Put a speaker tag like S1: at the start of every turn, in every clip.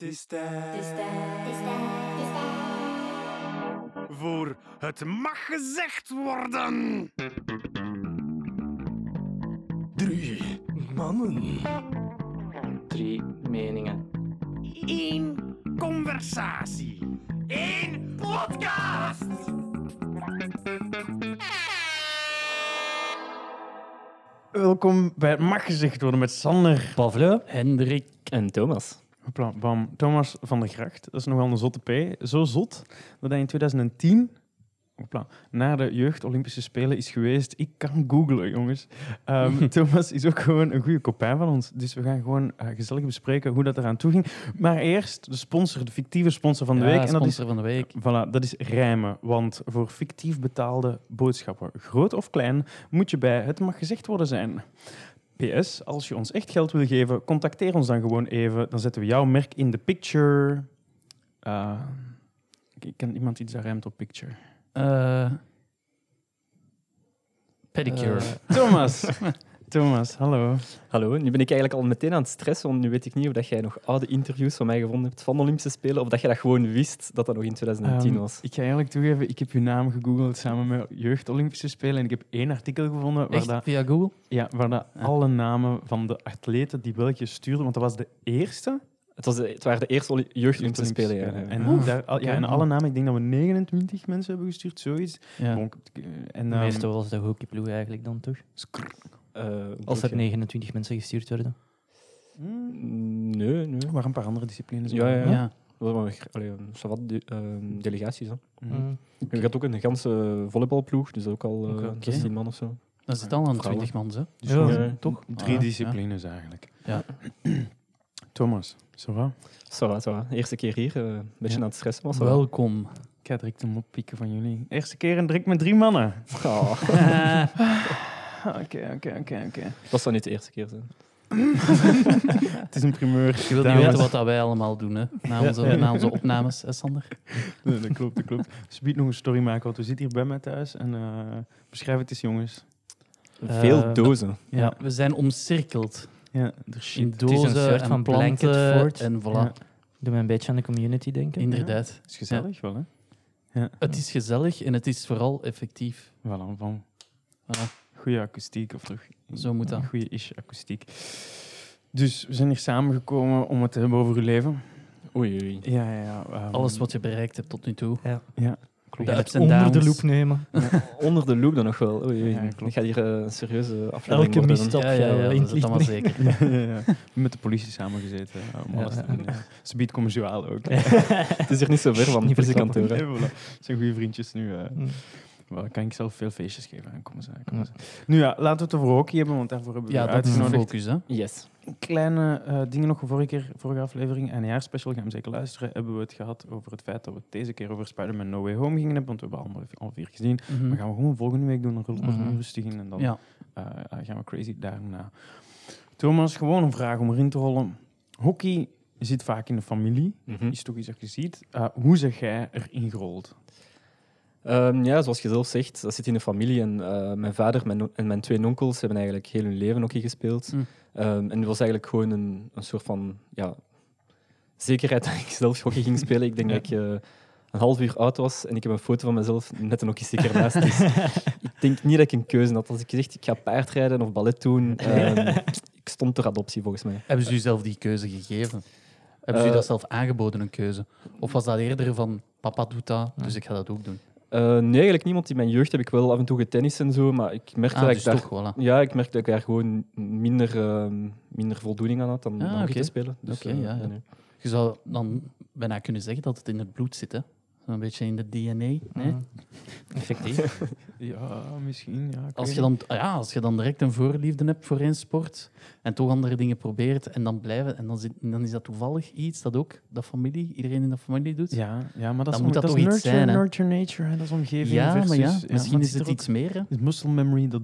S1: Het is tijd
S2: voor Het Mag Gezegd Worden.
S1: drie mannen.
S3: drie meningen.
S2: Eén conversatie. Eén podcast.
S4: Welkom bij het mag gezegd worden met Sander, Pavle,
S3: Hendrik en Thomas.
S4: Hopla, bam, Thomas van der Gracht. Dat is nogal een zotte P. Zo zot dat hij in 2010 hopla, naar de Jeugd Olympische Spelen is geweest. Ik kan googlen, jongens. Ehm, Thomas is ook gewoon een goede kopijn van ons. Dus we gaan gewoon eh, gezellig bespreken hoe dat eraan toe ging. Maar eerst de sponsor, de fictieve Ah, sponsor van de week. En dat is
S3: van de week.
S4: Voilà, dat is rijmen. Want voor fictief betaalde boodschappen, groot of klein, moet je bij Het Mag Gezegd Worden zijn. PS, als je ons echt geld wil geven, contacteer ons dan gewoon even. Dan zetten we jouw merk in de picture. Eh, ik ken iemand iets dat rijmt op picture.
S5: Eh,
S3: pedicure.
S4: Eh, Thomas. Thomas, hallo.
S3: Hallo, nu ben ik eigenlijk al meteen aan het stressen, want nu weet ik niet of dat jij nog oude interviews van mij gevonden hebt van de Olympische Spelen, of dat je dat gewoon wist dat dat nog in 2010
S4: Ehm,
S3: was.
S4: Ik ga eerlijk toegeven, ik heb uw naam gegoogeld samen met Jeugd Olympische Spelen. En ik heb één artikel gevonden waar dat
S3: via Google?
S4: Ja, waar dat alle namen van de atleten die België stuurde, want dat was de eerste.
S3: Het, was de, het waren de eerste Oli- jeugd Olympische
S4: Olympische
S3: Spelen. ja.
S4: En, daar, al- ja, en alle namen, ik denk dat we 29 mensen hebben gestuurd, zoiets.
S5: Ja.
S4: Bonk, eh, en, ehm,
S5: Meestal was de hockeyploeg eigenlijk dan toch?
S3: Eh,
S5: Als er
S3: nee.
S5: 29 mensen gestuurd werden.
S4: hmm,
S3: Nee, nee.
S4: er waren een paar andere disciplines.
S3: Ja,
S4: bij.
S3: ja. Wel, maar, allee, ça va, de- ehm, delegaties. Hè.
S4: Mhm.
S3: Je had ook een ganse volleybalploeg, dus ook al eh,
S5: Oké.
S3: 16 man of zo.
S5: Dan zit het al aan
S3: Vrouwen.
S5: 20 man, hè?
S4: Dus
S3: Ja.
S4: gewoon
S3: Ja.
S4: toch drie
S5: Ah, ja.
S4: disciplines eigenlijk.
S5: Ja.
S4: Thomas, ça va?
S3: Ça va, ça va. Eerste keer hier, eh, een beetje
S4: Ja.
S3: aan het stressen was.
S5: Welkom.
S4: Ik ga direct hem oppikken van jullie. Eerste keer en direct met drie mannen. Oké, oké, oké, oké.
S3: Dat zou niet de eerste keer zijn.
S4: Het is een primeur.
S5: Je wilt niet weten wat dat wij allemaal doen, hè? Na onze,
S4: Ja.
S5: na onze opnames, hè, Sander?
S4: Nee, dat klopt, dat klopt. Speed nog een story maken, want we zitten hier bij mij thuis. En eh, beschrijf het eens, jongens.
S3: Veel
S5: Eh,
S3: dozen.
S5: Ja. we zijn omcirkeld
S4: Ja, er
S5: in
S4: shit.
S5: dozen
S6: Het is een soort
S5: en
S6: van
S5: planten
S6: Blanketfort.
S5: en voilà.
S4: Ja.
S6: Doe me een beetje aan de community denken.
S5: Inderdaad.
S4: is gezellig wel, hè?
S5: Het is gezellig en het is vooral effectief.
S4: Voilà, van
S5: Voilà,
S4: goede akoestiek, of toch?
S5: Zo moet dat.
S4: Goede is-akoestiek. Dus we zijn hier samengekomen om het te hebben over uw leven.
S3: Oei, oei.
S4: Ja, ja, ja. ehm,
S5: Alles wat je bereikt hebt tot nu toe.
S6: We
S4: klopt.
S5: de
S6: gaan
S5: ups
S6: het
S5: en
S6: onder de
S5: downs.
S6: loep nemen.
S3: Onder de loop dan nog wel. Oei, oei.
S4: Ja, klopt.
S3: ik ga hier eh, een serieuze aflevering
S6: Elke
S3: worden.
S6: misstap.
S5: ja, ja, ja, dat is eh, het allemaal zeker.
S4: Ja, ja, ja. Met de politie samengezeten. eh, om alles te doen, ja. Ze biedt commerciaal ook.
S3: Het is hier niet zo ver van
S6: Niet
S3: het
S6: verklappen.
S3: politiekantoor. hè.
S4: Nee, voilà. Het zijn goede vriendjes nu. eh.
S6: Mm.
S4: Wel, kan ik zelf veel feestjes geven. hè. Kom eens, aan, kom eens. aan. Nu ja, laten we het over hockey hebben, want daarvoor hebben we
S5: Mm. Ja,
S4: u
S5: dat is de
S4: uitgenodigd.
S5: focus, hè?
S3: Yes.
S4: Kleine eh, dingen nog. Vorige keer, vorige aflevering en jaarspecial, gaan we zeker luisteren, hebben we het gehad over het feit dat we het deze keer over Spider-Man No Way Home gingen hebben, want we hebben allemaal al vier gezien.
S5: Mhm.
S4: Maar gaan we gewoon volgende week doen, dan rollen we er
S5: Mhm.
S4: rustig in en dan
S5: Ja.
S4: eh, eh, gaan we crazy daarna. Thomas, gewoon een vraag om erin te rollen. Hockey zit vaak in de familie, is toch iets dat je ziet. Eh, hoe zeg jij erin gerold?
S3: Ehm, ja, zoals je zelf zegt, dat zit in de familie. En eh, mijn vader mijn, no- en mijn twee onkels hebben eigenlijk heel hun leven hockey gespeeld.
S5: Mm.
S3: Ehm, en dat was eigenlijk gewoon een, een soort van ja, zekerheid dat ik zelf hockey ging spelen. Ik denk dat ik eh, een half uur oud was en ik heb een foto van mezelf net een hockeysticker naast. Dus ik denk niet dat ik een keuze had. Als ik gezegd ik ga paardrijden of ballet doen, ehm, ik stond ter adoptie volgens mij.
S5: Hebben ze u zelf die keuze gegeven? Hebben ze u
S3: Eh,
S5: dat zelf aangeboden, een keuze? Of was dat eerder van papa doet dat, dus ik ga dat ook doen?
S3: Eh, nee, eigenlijk niemand. In mijn jeugd heb ik wel af en toe getennist en zo, maar ik merkte
S5: Ah,
S3: dat
S5: dus
S3: ik daar
S5: toch, voilà.
S3: Ja, ik merk dat ik daar gewoon minder, ehm, minder voldoening aan had dan
S5: Ah,
S3: om
S5: oké.
S3: te spelen. Dus,
S5: Oké,
S3: eh,
S5: ja, ja.
S3: nee.
S5: Je zou dan bijna kunnen zeggen dat het in het bloed zit, hè? Een beetje in de DNA. Nee?
S3: Mhm.
S6: Mm. Effectief.
S4: Ja, misschien. Ja, ik
S5: Als,
S4: weet
S5: je dan, ah ja, als je dan direct een voorliefde hebt voor één sport en toch andere dingen probeert en dan blijven, en dan, zit, dan is dat toevallig iets dat ook de familie, iedereen in de familie doet.
S4: Ja, ja maar dat
S5: Dan
S4: is,
S5: moet
S4: om-
S5: dat toch
S4: is
S5: iets
S4: nurture,
S5: zijn, hè?
S4: nurture nature, hè? dat is omgeving
S5: Ja,
S4: versus...
S5: maar ja,
S4: maar
S5: misschien
S4: het
S5: is
S4: zit
S5: het
S4: er
S5: iets meer. hè.
S4: ook- Het muscle memory dat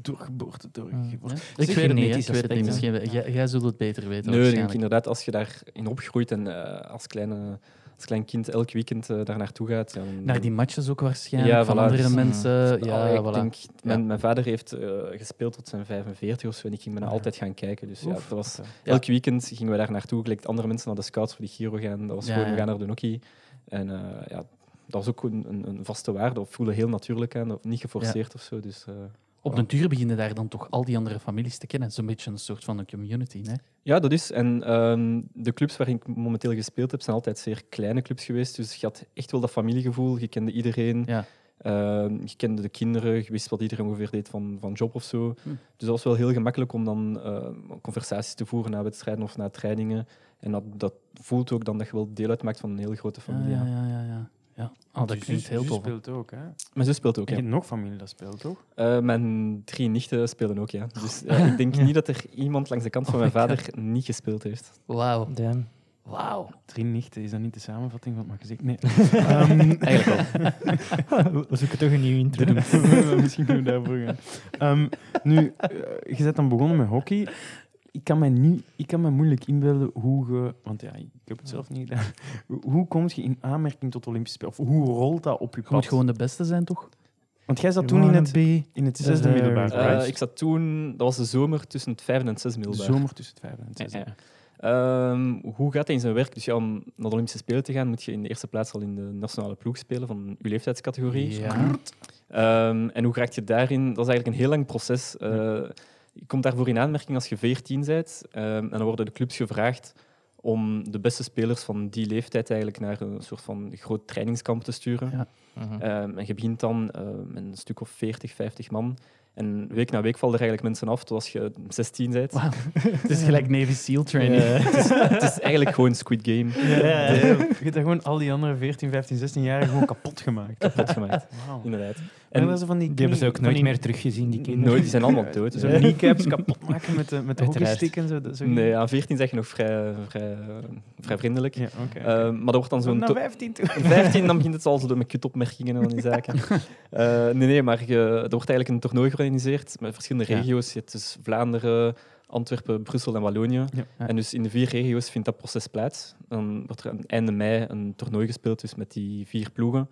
S4: doorgeboorte doorgegeven wordt.
S5: Mm, Ja? Ik
S6: Zeg,
S5: weet het niet, hè. ik
S6: genetisch
S5: weet het niet. Misschien, jij, jij zult het beter weten.
S3: Nee, ik denk
S5: waarschijnlijk.
S3: inderdaad, als je daarin opgroeit en eh, als kleine als klein kind elk weekend eh, daar naartoe gaat. Ja, dan-
S5: Naar die matches ook waarschijnlijk,
S3: Ja,
S5: van
S3: voilà,
S5: andere
S3: dus-
S5: mensen.
S3: Ja,
S5: Ja,
S3: ik
S5: voilà.
S3: denk, mijn, mijn vader heeft eh, gespeeld tot zijn 45 of zo en ik ging bijna altijd gaan kijken. Dus ja, dat was, elk weekend gingen we daar naartoe. Ik leek andere mensen naar de scouts voor die Giro gaan. Dat was
S5: Ja,
S3: gewoon, we
S5: ja.
S3: gaan naar de hockey. En eh, ja, dat was ook een, een, een vaste waarde. Of voelen heel natuurlijk aan, of niet geforceerd of zo. Dus, eh,
S5: Op den duur beginnen daar dan toch al die andere families te kennen. Zo'n beetje een soort van een community, hè?
S3: Ja, dat is. En ehm, de clubs waar ik momenteel gespeeld heb, zijn altijd zeer kleine clubs geweest. Dus je had echt wel dat familiegevoel. Je kende iedereen.
S5: Ja.
S3: Ehm, je kende de kinderen. Je wist wat iedereen ongeveer deed van, van job of zo.
S5: Hm.
S3: Dus dat was wel heel gemakkelijk om dan eh, conversaties te voeren na wedstrijden of na trainingen. En dat, dat voelt ook dan dat je wel deel uitmaakt van een hele grote familie.
S5: Ah, Ja,
S3: ja.
S5: ja, ja. ja. ja. Oh, dat
S4: Je
S5: klinkt
S4: zus-
S5: heel
S4: zus
S5: tof.
S4: speelt ook, hè?
S3: Mijn zus speelt ook,
S4: Ik
S3: ja.
S4: heb nog familie dat speelt, toch?
S3: Eh, mijn drie nichten spelen ook, ja. Dus ja, ik denk niet dat er iemand langs de kant van mijn vader niet gespeeld heeft.
S5: Wauw.
S6: Damn.
S5: Wauw.
S4: Drie nichten, is dat niet de samenvatting van het magazijn? Nee. Ehm,
S5: Eigenlijk wel.
S6: We zoeken toch een nieuwe intro.
S4: Misschien kunnen we daarvoor gaan. Ehm, nu, eh, je bent dan begonnen met hockey. Ik kan, mij niet, ik kan me moeilijk inbeelden hoe je... Want ja, ik heb het zelf niet gedaan. Hoe- Hoe kom je in aanmerking tot Olympisch Spelen? Of hoe rolt dat op je
S5: Je moet
S4: pad?
S5: gewoon de beste zijn, toch?
S4: Want jij zat
S6: You
S4: toen in
S6: wanna
S4: het, in het zesde
S6: there.
S4: middelbaar,
S3: Eh,
S4: right?
S3: ik zat toen, dat was de zomer tussen het vijfde en het zesde middelbaar.
S4: Zomer tussen het vijfde en het zesde.
S3: Ja, ja. Ehm, hoe gaat hij in zijn werk? Dus ja, om naar de Olympische Spelen te gaan, moet je in de eerste plaats al in de nationale ploeg spelen van je leeftijdscategorie.
S5: Ja.
S3: Ehm, en hoe raak je daarin? Dat is eigenlijk een heel lang proces. Eh, je komt daarvoor in aanmerking als je 14 bent. ehm, en dan worden de clubs gevraagd om de beste spelers van die leeftijd eigenlijk naar een soort van groot trainingskamp te sturen.
S5: Ja.
S4: Hm.
S6: Mhm.
S3: Ehm, en je begint dan eh, met een stuk of 40, 50 man. En week na week vallen er eigenlijk mensen af, tot als je 16 bent.
S5: Wauw. Het is gelijk Navy SEAL training.
S3: Eh, het, is, het is eigenlijk gewoon Squid Game.
S4: Ja, ja. Eh, Je hebt daar gewoon al die andere 14, 15, 16 jaar gewoon kapot gemaakt.
S3: Kapot gemaakt,
S4: Wauw.
S3: inderdaad.
S4: En
S3: En
S4: dat ze van die
S6: Die hebben ze ook
S4: knie-
S6: nooit
S4: van die-
S6: meer teruggezien, die kinderen.
S3: nooit, die zijn allemaal dood.
S4: Zo'n
S3: hè.
S4: kneecaps kapot maken met de, met de
S6: Uiteraard.
S4: hockeystick en zo. dat- zo
S3: Nee, aan 14 zeg je nog vrij, vrij, vrij vriendelijk.
S4: Ja, oké. oké.
S3: Eh, maar dat wordt dan zo'n...
S4: Naar
S3: to-
S4: 15 toe.
S3: Op 15 dan begint het al zo met kutopmerkingen en al die zaken. Eh, nee, nee, maar je, er wordt eigenlijk een toernooi georganiseerd met verschillende
S5: Ja.
S3: regio's. Je hebt dus Vlaanderen, Antwerpen, Brussel en Wallonië.
S4: Ja.
S5: Ja.
S3: En dus in de vier regio's vindt dat proces plaats. Dan wordt er aan het einde mei een toernooi gespeeld dus met die vier ploegen.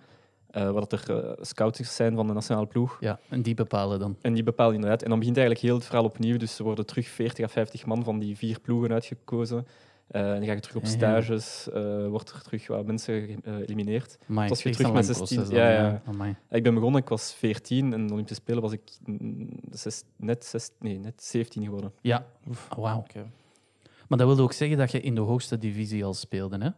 S3: eh waar dat er eh, scouters zijn van de nationale ploeg.
S5: Ja, en die bepalen dan.
S3: En die bepalen inderdaad. En dan begint eigenlijk heel het verhaal opnieuw. Dus er worden terug 40 à 50 man van die vier ploegen uitgekozen. Eh, en dan ga je terug op
S5: Ja.
S3: stages, eh wordt er terug wat mensen ge- eh, elimineerd.
S5: Amai,
S3: Als je
S5: echt
S3: terug
S5: een
S3: met
S5: lang
S3: 16
S5: proces
S3: ja,
S5: dan,
S3: ja.
S5: Amai.
S3: Eh, Ik ben begonnen, ik was 14 en de Olympische Spelen was ik mm, zes- net, zes, nee, net 17 geworden.
S5: Ja, Oh, wauw. Maar dat wilde ook zeggen dat je in de hoogste divisie al speelde, hè?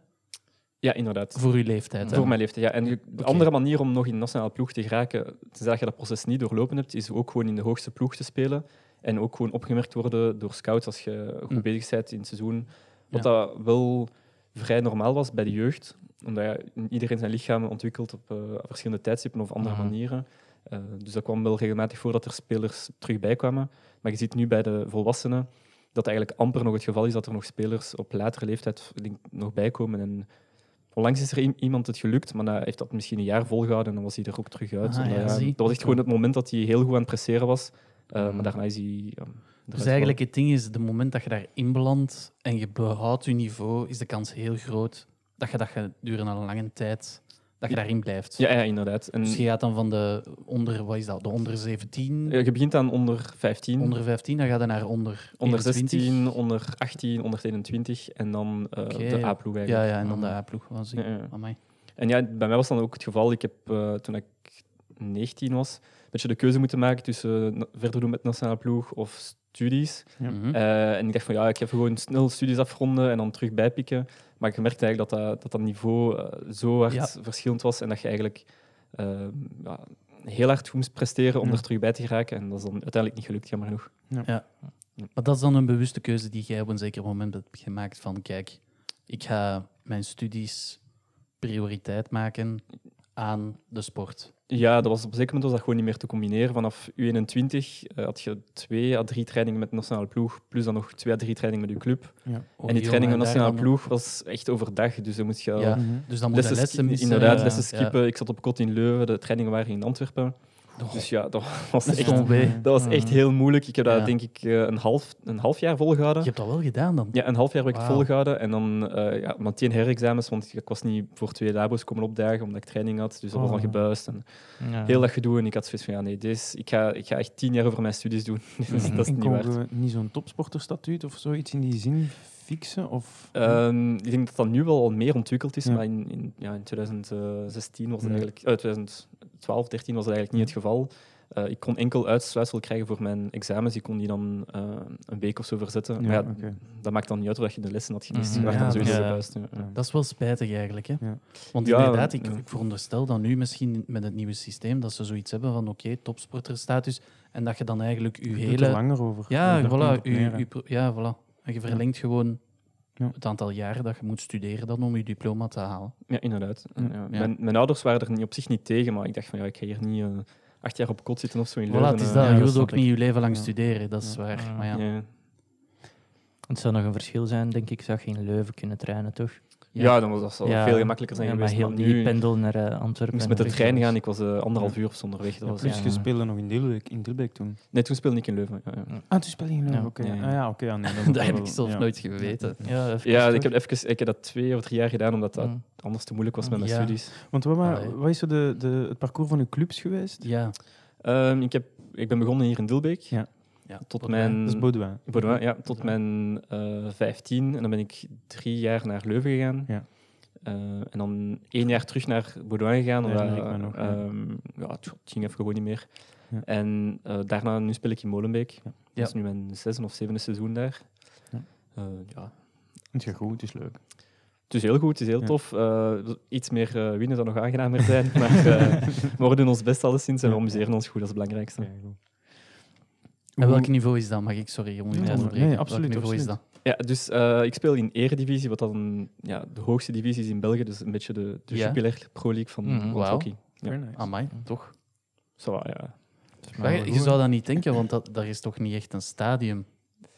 S3: Ja, inderdaad.
S5: Voor je leeftijd. hè?
S3: Voor mijn leeftijd, ja. En de
S5: Oké.
S3: andere manier om nog in de nationale ploeg te geraken, tenzij dat je dat proces niet doorlopen hebt, is ook gewoon in de hoogste ploeg te spelen. En ook gewoon opgemerkt worden door scouts als je goed
S5: Hm.
S3: bezig bent in het seizoen. Wat dat wel vrij normaal was bij de jeugd. Omdat ja, iedereen zijn lichaam ontwikkelt op eh, verschillende tijdstippen of andere
S6: Mhm.
S3: manieren. Eh, dus dat kwam wel regelmatig voor dat er spelers terug bij kwamen. Maar je ziet nu bij de volwassenen dat eigenlijk amper nog het geval is dat er nog spelers op latere leeftijd ik denk, nog bijkomen. En onlangs is er i- iemand het gelukt, maar hij heeft dat misschien een jaar volgehouden en dan was hij er ook terug uit.
S5: Ah,
S3: Omdat,
S5: ja,
S3: ja,
S5: zie. Mm.
S3: dat was echt gewoon het moment dat hij heel goed aan het presseren was. Eh,
S6: Mhm.
S3: Maar daarna is hij... ja, eruit
S5: Dus
S3: gevallen.
S5: eigenlijk het ding is, de moment dat je daarin belandt en je behoudt je niveau, is de kans heel groot dat je dat je durende een lange tijd dat je daarin blijft.
S3: Ja, ja, inderdaad. En,
S5: Dus je gaat dan van de onder, wat is dat, de onder 17,
S3: eh, je begint aan onder 15.
S5: onder 15, dan ga je naar onder
S3: Onder
S5: 21.
S3: 16, onder 18, onder 21 en dan eh,
S5: Oké.
S3: de A-ploeg eigenlijk.
S5: Ja, ja, en dan de A-ploeg. Wat zie ik?
S3: Ah. Ja, ja.
S5: Amai.
S3: En ja, bij mij was dan ook het geval, ik heb eh, toen ik 19 was, een beetje de keuze moeten maken tussen eh, na- verder doen met de nationale ploeg of studies.
S4: Ja.
S5: Mhm.
S3: Eh, en ik dacht van ja, ik ga even gewoon snel studies afronden en dan terug bijpikken. Maar ik merkte eigenlijk dat dat, dat, dat niveau eh, zo hard verschillend was en dat je eigenlijk eh, ja, heel hard moest presteren om
S4: Ja.
S3: er terug bij te geraken. En dat is dan uiteindelijk niet gelukt, jammer genoeg.
S5: Maar dat is dan een bewuste keuze die jij op een zeker moment hebt gemaakt van kijk, ik ga mijn studies prioriteit maken aan de sport.
S3: Ja, dat was, op een zeker moment was dat gewoon niet meer te combineren. Vanaf U21 eh, had je twee à drie trainingen met de nationale ploeg, plus dan nog twee à drie trainingen met je club. en die training met de
S5: jongen,
S3: nationale
S5: daar dan-
S3: ploeg was echt overdag, dus dan moest je al
S5: Ja,
S4: Mhm.
S5: Dus dan moet je
S3: lessen,
S5: lessen
S3: skippen.
S5: missen.
S3: inderdaad,
S5: ja,
S3: lessen
S5: ja.
S3: skippen. Ik zat op kot in Leuven, de trainingen waren in Antwerpen. Dus ja, dat was,
S5: Dat is
S3: echt,
S5: gewoon wee.
S3: dat was echt heel moeilijk. Ik heb dat
S5: Ja.
S3: denk ik eh, een half, een half jaar volgehouden.
S5: Je hebt dat wel gedaan dan?
S3: Ja, een half jaar heb ik het
S5: Wauw.
S3: volgehouden. En dan eh ja, meteen herexamens, want ik was niet voor twee labo's komen opdagen omdat ik training had. Dus dat was al
S6: Oh.
S3: gebuist. En
S6: Ja.
S3: heel dat gedoe. En ik had zoiets van, ja nee, dit is, ik, ga, ik ga echt tien jaar over mijn studies doen. dat
S5: Mhm.
S3: is, dat is
S4: en
S3: niet
S4: konden
S3: waard.
S4: we niet zo'n topsporterstatuut of zoiets in die zin fixen? Of...
S3: Ehm, ik denk dat dat nu wel al meer ontwikkeld is,
S4: Ja.
S3: maar in, in, ja, in 2016 was het
S4: Ja.
S3: eigenlijk, eh, 2012, 13 was dat eigenlijk niet het geval. Eh, ik kon enkel uitsluitsel krijgen voor mijn examens. Ik kon die dan eh, een week of zo verzetten. maar ja,
S4: oké.
S3: dat maakt dan niet uit of dat je de lessen had gemist.
S5: Mhm.
S3: Je werd
S5: Ja,
S3: dan sowieso
S5: dat-
S3: gebuist. ja, ja.
S5: Dat is wel spijtig eigenlijk. Hè?
S4: Ja.
S5: Want
S3: Ja,
S5: inderdaad, ik,
S3: ja.
S5: ik veronderstel dat nu misschien met het nieuwe systeem dat ze zoiets hebben van oké, topsporterstatus. En dat je dan eigenlijk je
S4: Je doet er
S5: hele.
S4: langer over.
S5: Ja,
S4: Daar komt het
S5: voilà,
S4: op neer,
S5: u,
S4: hè.
S5: u pro- ja, voilà. En je verlengt gewoon
S4: Ja.
S5: het aantal jaren dat je moet studeren dan om je diploma te halen.
S3: Ja, inderdaad. En, ja,
S5: Ja.
S3: Mijn, mijn ouders waren er niet, op zich niet tegen, maar ik dacht van ja, ik ga hier niet eh, acht jaar op kot zitten of zo in
S5: Voilà,
S3: Leuven.
S5: het is
S3: eh.
S5: dat.
S6: ja,
S5: je
S6: dat
S5: wilt
S6: snap
S5: ook niet je leven lang
S4: Ja.
S5: studeren, dat is
S4: Ja.
S5: waar.
S6: Ja.
S5: Maar ja.
S3: Ja. Ja.
S6: Het zou nog een verschil zijn, denk ik. Zou je in Leuven kunnen trainen, toch?
S3: dan was dat zou
S6: Ja.
S3: veel gemakkelijker zijn
S6: Ja, maar
S3: geweest.
S6: heel
S3: nu,
S6: die pendel naar eh, Antwerpen.
S3: ik moest
S6: en
S3: met de
S6: terug,
S3: trein
S6: dus-
S3: gaan, ik was eh, anderhalf uur of zo onderweg. Dat
S4: Ja,
S3: was,
S4: plus
S6: ja.
S4: je speelde nog in Dilbeek, in Dilbeek toen.
S3: Nee, toen speelde ik in Leuven. Ja, ja.
S4: Ah, toen speelde je in Leuven,
S6: Ja.
S4: oké.
S3: Ja, ja.
S4: Ah, ja, oké. ja, nee, dan
S5: dat
S4: was
S5: heb
S4: wel-
S5: ik zelf
S4: ja.
S5: nooit geweten.
S6: Oh, Ja, even
S3: Ja, ik
S6: terug.
S3: heb, even, ik heb dat twee of drie jaar gedaan, omdat dat
S6: Mm.
S3: anders te moeilijk was met mijn
S5: Ja.
S3: studies.
S4: Want wat, wa-
S5: Allee.
S4: wat is zo de, de, het parcours van uw clubs geweest?
S5: Ja,
S3: Ehm, ik, heb, ik ben begonnen hier in Dilbeek.
S4: Ja.
S5: ja.
S3: Tot
S5: Wat wij-
S3: mijn...
S4: Dat is Baudouin.
S3: Dus Boudewijn, ja, tot mijn eh 15. En dan ben ik drie jaar naar Leuven gegaan.
S4: Ja.
S3: Eh, en dan één jaar terug naar Boudewijn gegaan.
S4: Daar
S3: Omdat,
S4: herinner ik me nog, ja.
S3: ehm, ja, het ging even gewoon niet meer.
S4: Ja.
S3: En eh, daarna, nu speel ik in Molenbeek.
S4: Ja.
S3: Dat is nu mijn zesde of zevende seizoen daar.
S4: Ja.
S3: Eh, ja.
S4: Het is goed, het is leuk.
S3: Het is heel goed, het is heel
S4: Ja.
S3: tof. Eh, iets meer eh, winnen zou nog aangenamer zijn. maar eh, we doen ons best alleszins en we
S4: Ja.
S3: amuseren ons goed, dat is het belangrijkste.
S4: Ja, goed.
S5: En welk niveau is dat? Mag ik, sorry, om u
S4: Nee,
S5: te
S4: nee,
S5: onderbreken.
S4: nee, absoluut,
S5: Welk niveau is dat?
S3: Ja, dus eh, ik speel in Eredivisie, wat dan ja, de hoogste divisie is in België. Dus een beetje de, de
S5: Ja. Mm,
S3: Jupiler Pro League van,
S6: Mhm.
S3: van het
S5: Wauw.
S3: hockey. Ja.
S4: Very nice.
S5: Amai, toch?
S3: Zo, ja.
S5: Maar je, je zou dat niet denken, want dat, daar is toch niet echt een stadium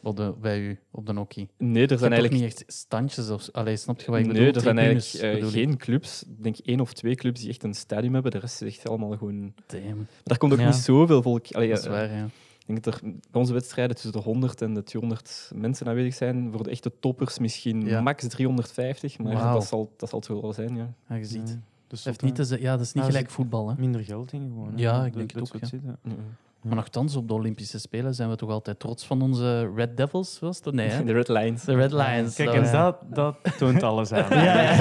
S5: op de, bij u op de hockey.
S3: Nee, er
S5: Er zijn
S3: zijn eigenlijk,
S5: niet echt standjes of Allee, snap je wat ik bedoel?
S3: nee, er zijn
S5: Tribunes,
S3: eigenlijk eh,
S5: bedoel ik.
S3: geen clubs. Ik denk één of twee clubs die echt een stadium hebben. De rest is echt allemaal gewoon...
S5: Damn,
S3: Daar komt ook
S6: Ja.
S3: niet zoveel volk. Allee,
S5: dat is
S3: eh,
S5: waar, ja.
S3: Ik denk dat er bij onze wedstrijden tussen de 100 en de 200 mensen aanwezig zijn. Voor de echte toppers misschien
S5: Ja.
S3: max 350, maar
S5: Wauw.
S3: dat, zal, dat zal het wel zijn, ja.
S5: Ja, je ziet.
S4: Ja.
S5: Het
S4: Dus
S5: heeft
S4: tot,
S5: niet te ze- ja, dat is niet
S4: Ah,
S5: gelijk
S4: ze-
S5: voetbal, hè.
S4: eh, minder geld in gewoon. hè.
S5: Ja, ik
S4: Dat-
S5: denk het
S4: dat
S5: ook,
S4: soort
S5: ja.
S4: zitten.
S5: Maar nogthans, op de Olympische Spelen zijn we toch altijd trots van onze Red Devils, was het? Nee, hè?
S3: De Red Lions.
S5: De Red Lions.
S4: Kijk,
S5: dat
S4: en
S5: we-
S4: dat, dat toont alles aan.
S5: Ja, ja.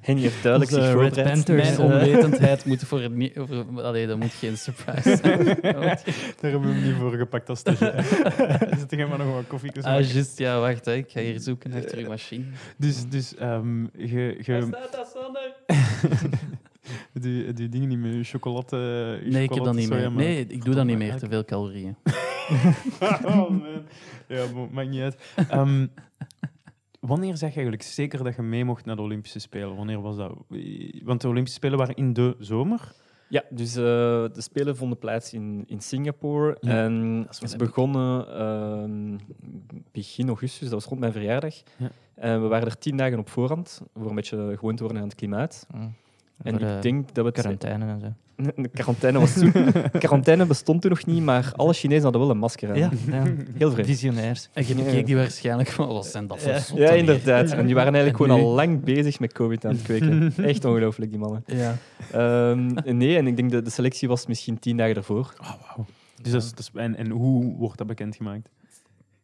S3: Henny heeft duidelijk
S6: Onze
S3: zich
S6: Red
S3: voorbereid.
S6: Panthers.
S5: Mijn
S6: eh.
S5: onwetendheid moet voor... het niet- voor- Allee, dat moet geen surprise zijn.
S4: Daar hebben we hem niet voor gepakt als stagiair. Zit er maar nog wat koffie te
S5: Ah,
S4: maken.
S5: juist. Ja, wacht, hè. ik ga hier zoeken achter uw machine.
S4: Dus, dus ehm je,
S5: staat dat zonder?
S4: die, die dingen niet meer, je chocolade.
S5: Nee, ik heb dat niet meer. Nee, ik doe dat niet
S4: Verdomme,
S5: meer. Te veel calorieën.
S4: oh man. Ja, bo- maakt niet uit. Ehm, wanneer zeg je eigenlijk zeker dat je mee mocht naar de Olympische Spelen? Wanneer was dat? Want de Olympische Spelen waren in de zomer.
S3: Ja, dus eh, de Spelen vonden plaats in, in Singapore.
S4: Ja,
S3: en
S5: is
S3: het
S5: wel
S3: is
S5: epic.
S3: begonnen ehm, begin augustus, dat was rond mijn verjaardag.
S4: Ja.
S3: En we waren er tien dagen op voorhand, voor een beetje gewoon te worden aan het klimaat.
S6: Mm.
S3: En
S6: Voor, eh,
S3: ik denk dat we... het-
S6: Quarantaine en zo.
S3: De quarantaine, was toen, quarantaine bestond toen nog niet, maar alle Chinezen hadden wel een masker aan. Heel vreemd.
S6: Visionairs.
S5: En je bekeek die waarschijnlijk van, wat zijn dat voor zotten
S3: Ja,
S5: hier?
S3: inderdaad. En die waren
S5: En
S3: eigenlijk gewoon
S5: nu-
S3: al lang bezig met COVID aan het kweken. Echt ongelooflijk, die mannen.
S5: Ja.
S3: Ehm, nee, en ik denk dat de selectie was misschien tien dagen ervoor.
S4: Oh, wow. Dus dat is, dat is- en, en hoe wordt dat bekendgemaakt?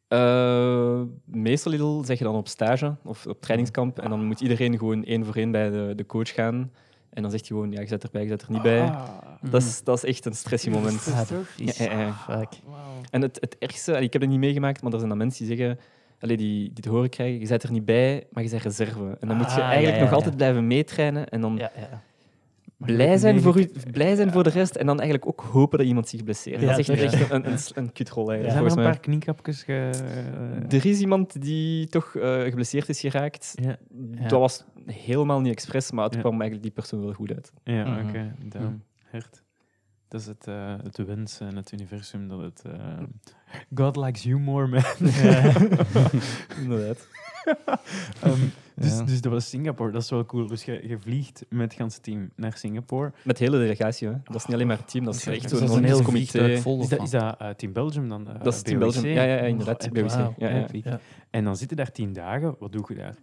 S3: Eh, meestal zeg je dan op stage of op trainingskamp. En dan moet iedereen gewoon één voor één bij de, de coach gaan. En dan zegt hij gewoon, ja, je zit erbij, je zit er niet bij.
S4: Ah,
S3: Dat is, dat is echt een stressiemoment.
S6: Ja, precies.
S3: Ja, ja, ja.
S6: Fuck.
S4: wauw.
S3: En het, het ergste, allee, ik heb het niet meegemaakt, maar er zijn dan mensen die zeggen... Allee, die, die te horen krijgen, je zit er niet bij, maar je bent reserve. En dan moet je
S6: Ah,
S3: eigenlijk
S6: ja, ja,
S3: nog
S6: ja.
S3: altijd blijven meetrainen. En dan
S6: Ja, ja.
S3: blij zijn, voor u, blij zijn voor de rest. En dan eigenlijk ook hopen dat iemand zich blesseert.
S6: Ja,
S3: dat is echt,
S6: toch, ja.
S3: echt een, een, een kutrol
S4: Er
S3: eigenlijk,
S4: zijn er
S3: volgens
S4: een
S3: mij.
S4: paar kniekapjes ge...
S3: Er is iemand die toch eh, geblesseerd is geraakt.
S4: Ja.
S3: Dat was helemaal niet expres, maar het
S4: Ja.
S3: kwam eigenlijk die persoon wel goed uit.
S4: Ja,
S6: Mhm.
S4: oké. Damn. Hert. Dat is het, eh, het wensen en het universum dat het... eh, God likes you more, man.
S3: Inderdaad.
S4: Ehm, dus,
S6: Ja.
S4: dus dat was Singapore. Dat is wel cool. Dus je, je vliegt met het ganse team naar Singapore.
S3: Met de hele delegatie, hè. Dat is niet alleen maar het team, dat is
S4: Dat is
S3: echt
S4: een
S3: zo'n
S4: heel
S3: Olympisch
S5: vliegtuig
S3: comité.
S5: vol
S4: Is dat,
S5: ervan.
S4: is dat eh, Team Belgium dan? eh,
S3: Dat is Team
S4: BOC?
S3: Belgium. Ja, ja, ja, inderdaad,
S4: Oh,
S3: Team
S4: wauw.
S3: BOC. Ja, ja.
S4: Epic. En dan zitten daar tien dagen. Wat doe je daar?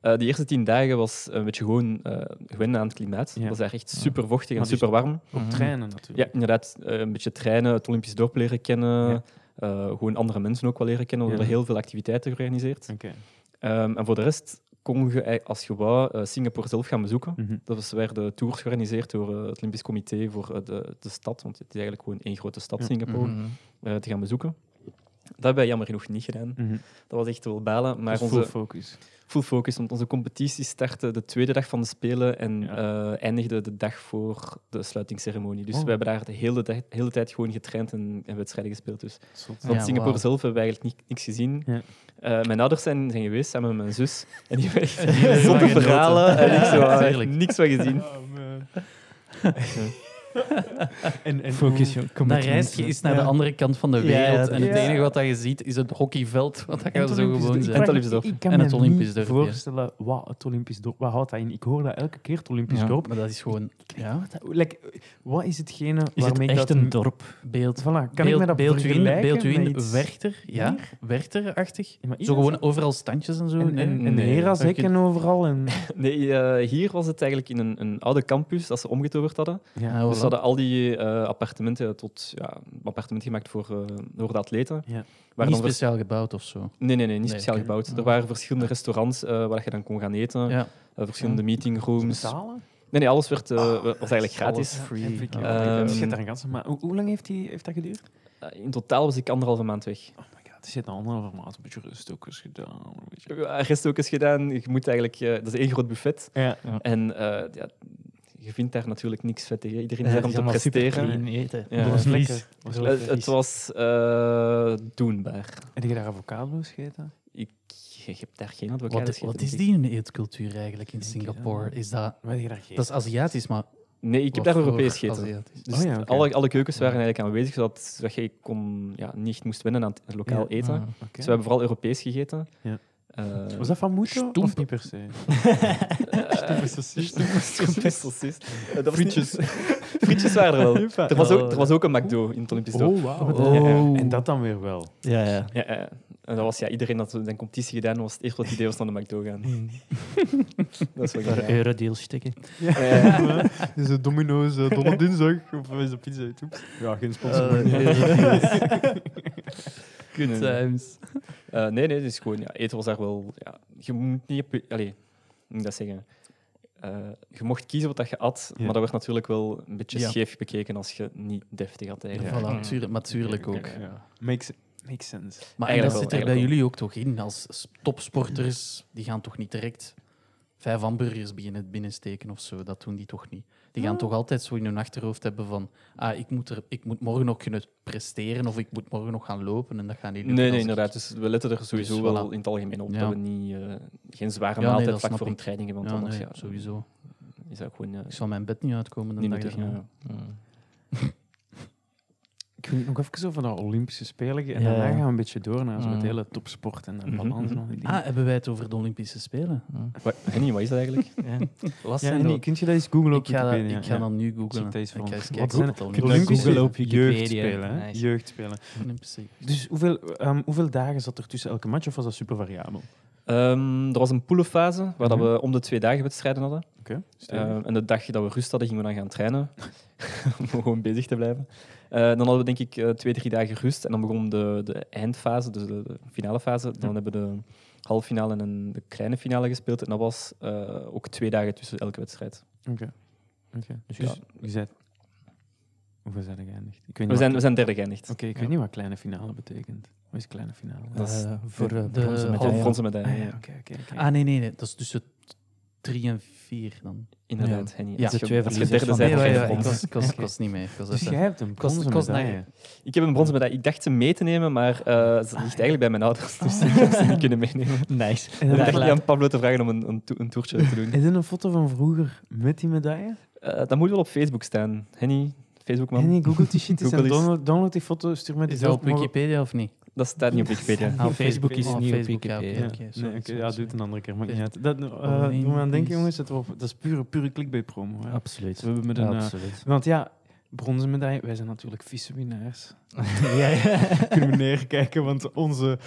S3: Eh, die eerste tien dagen was een beetje gewoon eh, wennen aan het klimaat.
S4: Ja.
S3: Het was daar echt super vochtig en
S4: Maar dus-
S3: super warm.
S4: Op
S6: Mhm.
S4: treinen
S3: Ja,
S4: natuurlijk.
S3: inderdaad. eh, een beetje trainen, het Olympisch dorp leren kennen.
S4: Ja.
S3: eh, gewoon andere mensen ook wel leren kennen. We
S4: Ja.
S3: hadden heel veel activiteiten georganiseerd.
S4: Oké.
S3: Ehm, en voor de rest kon je, ei- als je wou, eh, Singapore zelf gaan bezoeken.
S4: Mhm.
S3: Dat was, werden tours georganiseerd door eh, het Olympisch Comité voor eh, de, de stad. Want het is eigenlijk gewoon één grote stad,
S4: Ja.
S3: Singapore.
S6: Mhm.
S3: eh, te gaan bezoeken. Dat hebben wij jammer genoeg niet gedaan.
S4: Mhm.
S3: Dat was echt wel balen. Maar
S4: Dus
S3: onze
S4: full focus.
S3: full focus, want onze competitie startte de tweede dag van de Spelen en
S4: Ja.
S3: eh, eindigde de dag voor de sluitingsceremonie. Dus
S4: Oh.
S3: we hebben daar de hele, dag, hele tijd gewoon getraind en, en wedstrijden gespeeld. Dus.
S4: Zot.
S5: Ja.
S3: Van Singapore
S5: wauw.
S3: zelf hebben we eigenlijk ni- niks gezien.
S4: Ja.
S3: Eh, mijn ouders zijn, zijn geweest samen met mijn zus en die hebben echt
S5: die hebben
S3: zotte
S5: genoten.
S3: verhalen en ik zo,
S5: Ja,
S3: ah,
S5: tuurlijk.
S3: niks van gezien.
S4: Oh, man. en, en
S6: Focus,
S4: hoe-
S6: joh. Kom
S5: Dan
S6: op,
S5: reis je
S6: mensen.
S5: eens naar de
S4: Ja.
S5: andere kant van de
S6: Ja,
S5: wereld.
S6: ja,
S5: en het
S4: ja.
S5: enige wat dat je ziet is het hockeyveld. Wat dat
S4: En
S5: gaat
S4: het
S5: zo
S4: Olympisch
S5: gewoon
S4: dorp.
S5: zijn.
S3: En het
S4: Ik-
S3: Olympisch dorp.
S4: Ik kan
S5: En
S4: me
S5: het Olympisch
S4: niet
S5: dorp, ja.
S4: voorstellen wat het Olympisch dorp... Wat houdt dat in? Ik hoor dat elke keer, het Olympisch
S6: Ja.
S4: dorp.
S5: Maar dat is gewoon ja,
S4: Dat- like, wat is hetgene
S6: Is het
S4: waarmee ik
S6: echt
S4: dat...
S6: een dorp?
S5: beeld.
S4: Voilà, kan ik
S5: beeld-
S4: me dat
S5: Beeldwin,
S4: vergelijken met
S5: Beeldwin
S4: iets-
S5: Werchter. Ja, Werchter-achtig.
S4: Ja, maar
S5: Zo
S4: is
S5: gewoon overal standjes en zo.
S4: En,
S5: nee?
S4: en, en
S3: Nee.
S4: Herazek
S5: Oké.
S4: en overal. En,
S3: Nee, eh, hier was het eigenlijk in een, een oude campus dat ze omgetoverd hadden.
S5: Ja,
S3: Dus
S5: voilà.
S3: ze hadden al die eh, appartementen tot ja, appartementen gemaakt voor, eh, voor de atleten.
S4: Ja.
S3: Waar
S5: niet
S3: dan vers-
S5: speciaal gebouwd of zo.
S3: nee, nee, nee, niet
S5: Nee,
S3: speciaal
S5: oké.
S3: gebouwd.
S5: Ja.
S3: Er waren verschillende restaurants eh, waar je dan kon gaan eten,
S5: Ja.
S3: eh, verschillende meetingrooms.
S4: Betalen?
S3: Nee, nee, alles werd, eh, was eigenlijk gratis.
S5: alles.
S4: Free. Ja, heb ik-
S5: Ehm,
S4: ja, dus je hebt daar een ganse maand. Hoe, hoe lang heeft, die, heeft dat geduurd?
S3: Eh, in totaal was ik anderhalve maand weg.
S4: Oh my god, er zit een anderhalve maand een beetje rust ook eens gedaan. Een beetje.
S3: Eh, Rest ook eens gedaan. Je moet eigenlijk, eh, dat is één groot buffet.
S4: Ja.
S3: En eh, ja, je vindt daar natuurlijk niks vet tegen. Iedereen is
S6: Ja,
S3: daar om te presteren.
S6: clean eten. Mm.
S3: Ja.
S4: Dat was
S3: Eh,
S4: lekker. Dat was
S3: Het,
S4: lekker.
S3: het was eh, doenbaar.
S4: Heb je daar avocado's gegeten?
S3: Ik, ik heb daar geen advocaat
S5: Wat,
S3: gegeten,
S5: wat is
S3: denk ik.
S5: die in de eetcultuur eigenlijk in
S4: Denk
S5: Singapore?
S4: ik, ja.
S5: Is dat,
S4: Wat heb je daar gegeten?
S5: dat is Aziatisch, maar...
S3: Nee, ik heb
S5: wat
S3: daar Europees
S5: voor
S3: gegeten.
S5: Aziatisch?
S3: Dus
S4: Oh ja, oké.
S3: alle, alle keukens waren eigenlijk aanwezig, zodat, zodat je kon, ja, niet moest wennen aan het lokaal
S4: Ja.
S3: eten.
S6: Ah.
S4: Oké.
S3: Dus we hebben vooral Europees gegeten.
S4: Ja.
S3: Eh,
S4: Was dat van Mucho
S5: Stoemp.
S4: of niet per se? Stoempe sausjes.
S3: Stoempe sausjes. Eh, dat was Frietjes. Frietjes waren er wel. Er was, ook, er was ook een McDo in het Olympisch dorp.
S4: Oh, wauw.
S6: Oh.
S4: En dat dan weer wel.
S6: Ja, ja.
S3: Ja, eh, en dat was, ja, iedereen had zijn competitie gedaan, was het eerst wat idee was naar de McDo gaan.
S4: Mm.
S3: dat is wel
S6: Daar
S3: grappig.
S6: eurodeals stikken.
S3: Ja.
S4: Is het Domino's uh, Donald Dinsdag? Of is dat Pizza Hut? Oeps. Ja, geen sponsor.
S5: Eh,
S4: maar-
S5: Good
S3: Nee, nee.
S5: times.
S3: Eh, nee, nee, dus gewoon, ja, eten was daar wel... Ja, je moet niet... op je- Allee, hoe moet ik dat zeggen? Eh, je mocht kiezen wat dat je at,
S4: Ja.
S3: maar dat werd natuurlijk wel een beetje
S5: Ja.
S3: scheef bekeken als je niet deftig had
S5: Ja,
S3: eigenlijk.
S5: voilà,
S6: Mm.
S5: tuurlijk- maar tuurlijk ook.
S4: Ja. Makes, makes sense.
S5: Maar en
S3: Eigenlijk
S5: dat zit
S3: wel,
S5: er bij
S3: eigenlijk wel.
S5: jullie ook toch in? Als s- topsporters, die gaan toch niet direct vijf hamburgers beginnen binnensteken of zo? Dat doen die toch niet? Die gaan toch altijd zo in hun achterhoofd hebben van... Ah, ik moet, er, ik moet morgen nog kunnen presteren of ik moet morgen nog gaan lopen en dat gaan die
S3: Nee,
S5: lukken
S3: nee,
S5: als ik-
S3: inderdaad. Dus we letten er sowieso
S5: voilà.
S3: wel in het algemeen op
S5: Ja.
S3: dat we niet, eh, geen zware
S5: Ja, nee,
S3: maaltijd
S5: dat
S3: vlak
S5: snap
S3: voor een
S5: ik.
S3: training hebben,
S5: Ja,
S3: want anders
S5: nee,
S3: ja,
S5: sowieso.
S3: is dat gewoon eh,
S5: Ik zal mijn bed niet uitkomen de
S3: niet
S5: dag
S3: nuttig.
S5: erna.
S3: ja.
S6: Mm.
S4: Ik wil nog even over de Olympische Spelen gaan. En
S6: Ja,
S4: daarna
S6: ja.
S4: gaan we een beetje door naar zo het
S6: Mm.
S4: hele topsport en de
S3: Mhm,
S4: balans en
S3: mhm.
S4: al die dingen.
S5: Ah, hebben wij het over de Olympische Spelen?
S6: Mm.
S3: Wat, Henny, wat is dat eigenlijk?
S6: Ja.
S5: Last
S4: ja,
S5: zijn
S4: en
S5: dood.
S4: die- kun je dat eens googlen op
S5: ik ga, dat,
S4: Wikipedia?
S5: ik ga
S4: Ja.
S5: dan nu
S4: Zie
S5: googlen.
S4: ik dat eens
S5: Ik
S4: van.
S5: ga eens
S4: Wat
S5: kijken
S4: zijn-
S5: wat het
S6: kun je dat
S5: Olympische
S6: googlen
S4: Olympische
S6: op Wikipedia.
S4: jeugdspelen. hè?
S6: Nice.
S4: Jeugdspelen.
S5: Olympische-
S4: Dus hoeveel, ehm, hoeveel dagen zat er tussen elke match of was dat super variabel?
S3: Ehm, er was een poelenfase waar dat
S4: Mhm.
S3: we om de twee dagen wedstrijden hadden.
S4: Oké.
S3: Ehm, en de dag dat we rust hadden, gingen we dan gaan trainen. om gewoon bezig te blijven. Eh, dan hadden we denk ik eh, twee, drie dagen rust. En dan begon de, de eindfase, dus de, de finale fase. Dan hebben we de halve finale en een- de kleine finale gespeeld. En dat was eh, ook twee dagen tussen elke wedstrijd.
S4: Oké. Oké. Dus,
S3: ja.
S4: je zei... Hoeveel zijn er geëindigd? Ik weet niet
S3: We
S4: wat-
S3: zijn, we zijn derde geëindigd.
S4: Oké, ik weet niet wat kleine finale betekent. Wat is kleine finale?
S3: Dat is-
S6: Eh, voor eh,
S5: de-
S6: bronzen
S5: de-
S3: Voor
S6: medaille.
S3: Oh, bronzen medaille.
S4: Ah, ja,
S3: ja.
S4: oké, oké. oké.
S5: Ah, nee, nee, nee. Dat is tussen drie en vier dan.
S3: Inderdaad, Henny.
S5: Ja.
S3: Als je-
S6: De twee
S3: als je
S6: verliezers
S3: derde
S6: van
S3: bent,
S6: de
S3: dan
S5: ja,
S3: krijg je
S5: ja, ik,
S3: brons.
S5: was, ik, was, ik was niet mee. Ik was
S4: Dus
S5: even-
S4: jij hebt een
S5: was-
S4: bronzen
S5: ik was
S4: medaille.
S3: Ik heb een bronzen medaille. Ik dacht ze mee te nemen, maar eh, ze ligt eigenlijk bij mijn ouders. Dus ik heb ze niet kunnen meenemen.
S6: Nice.
S4: En
S3: Ik
S4: dan
S3: dacht
S4: heb
S3: niet aan Pablo te vragen om een, een, to- een toertje te doen.
S4: Is er een foto van vroeger met die medaille?
S3: Eh, dat moet wel op Facebook staan. Henny, Facebook, man.
S4: Nee, nee, Google die shit eens en
S3: Google is-
S4: download, download die foto, stuur mij die
S5: Is dat op
S4: zelf, maar-
S5: Wikipedia of niet?
S3: Dat staat niet op Wikipedia.
S5: Ah, op Facebook is
S4: Oh,
S5: niet op
S6: Facebook, ja,
S5: Wikipedia.
S4: Ja,
S5: oké,
S4: nee,
S5: sorry,
S4: oké,
S5: sorry,
S4: ja doe
S5: sorry.
S4: het een andere keer. Maakt niet
S5: Dus-
S4: uit. Dat, eh
S5: Oh, nee, Ah,
S4: doe me aan denken,
S5: please.
S4: jongens. Dat, was- dat is pure, pure clickbait-promo. hè.
S6: Absoluut.
S4: We hebben met een,
S6: Ja,
S4: eh,
S6: absoluut.
S4: want ja, bronzen medaille, wij zijn natuurlijk vieze winnaars.
S6: ja, ja.
S4: Kunnen we neerkijken, want onze...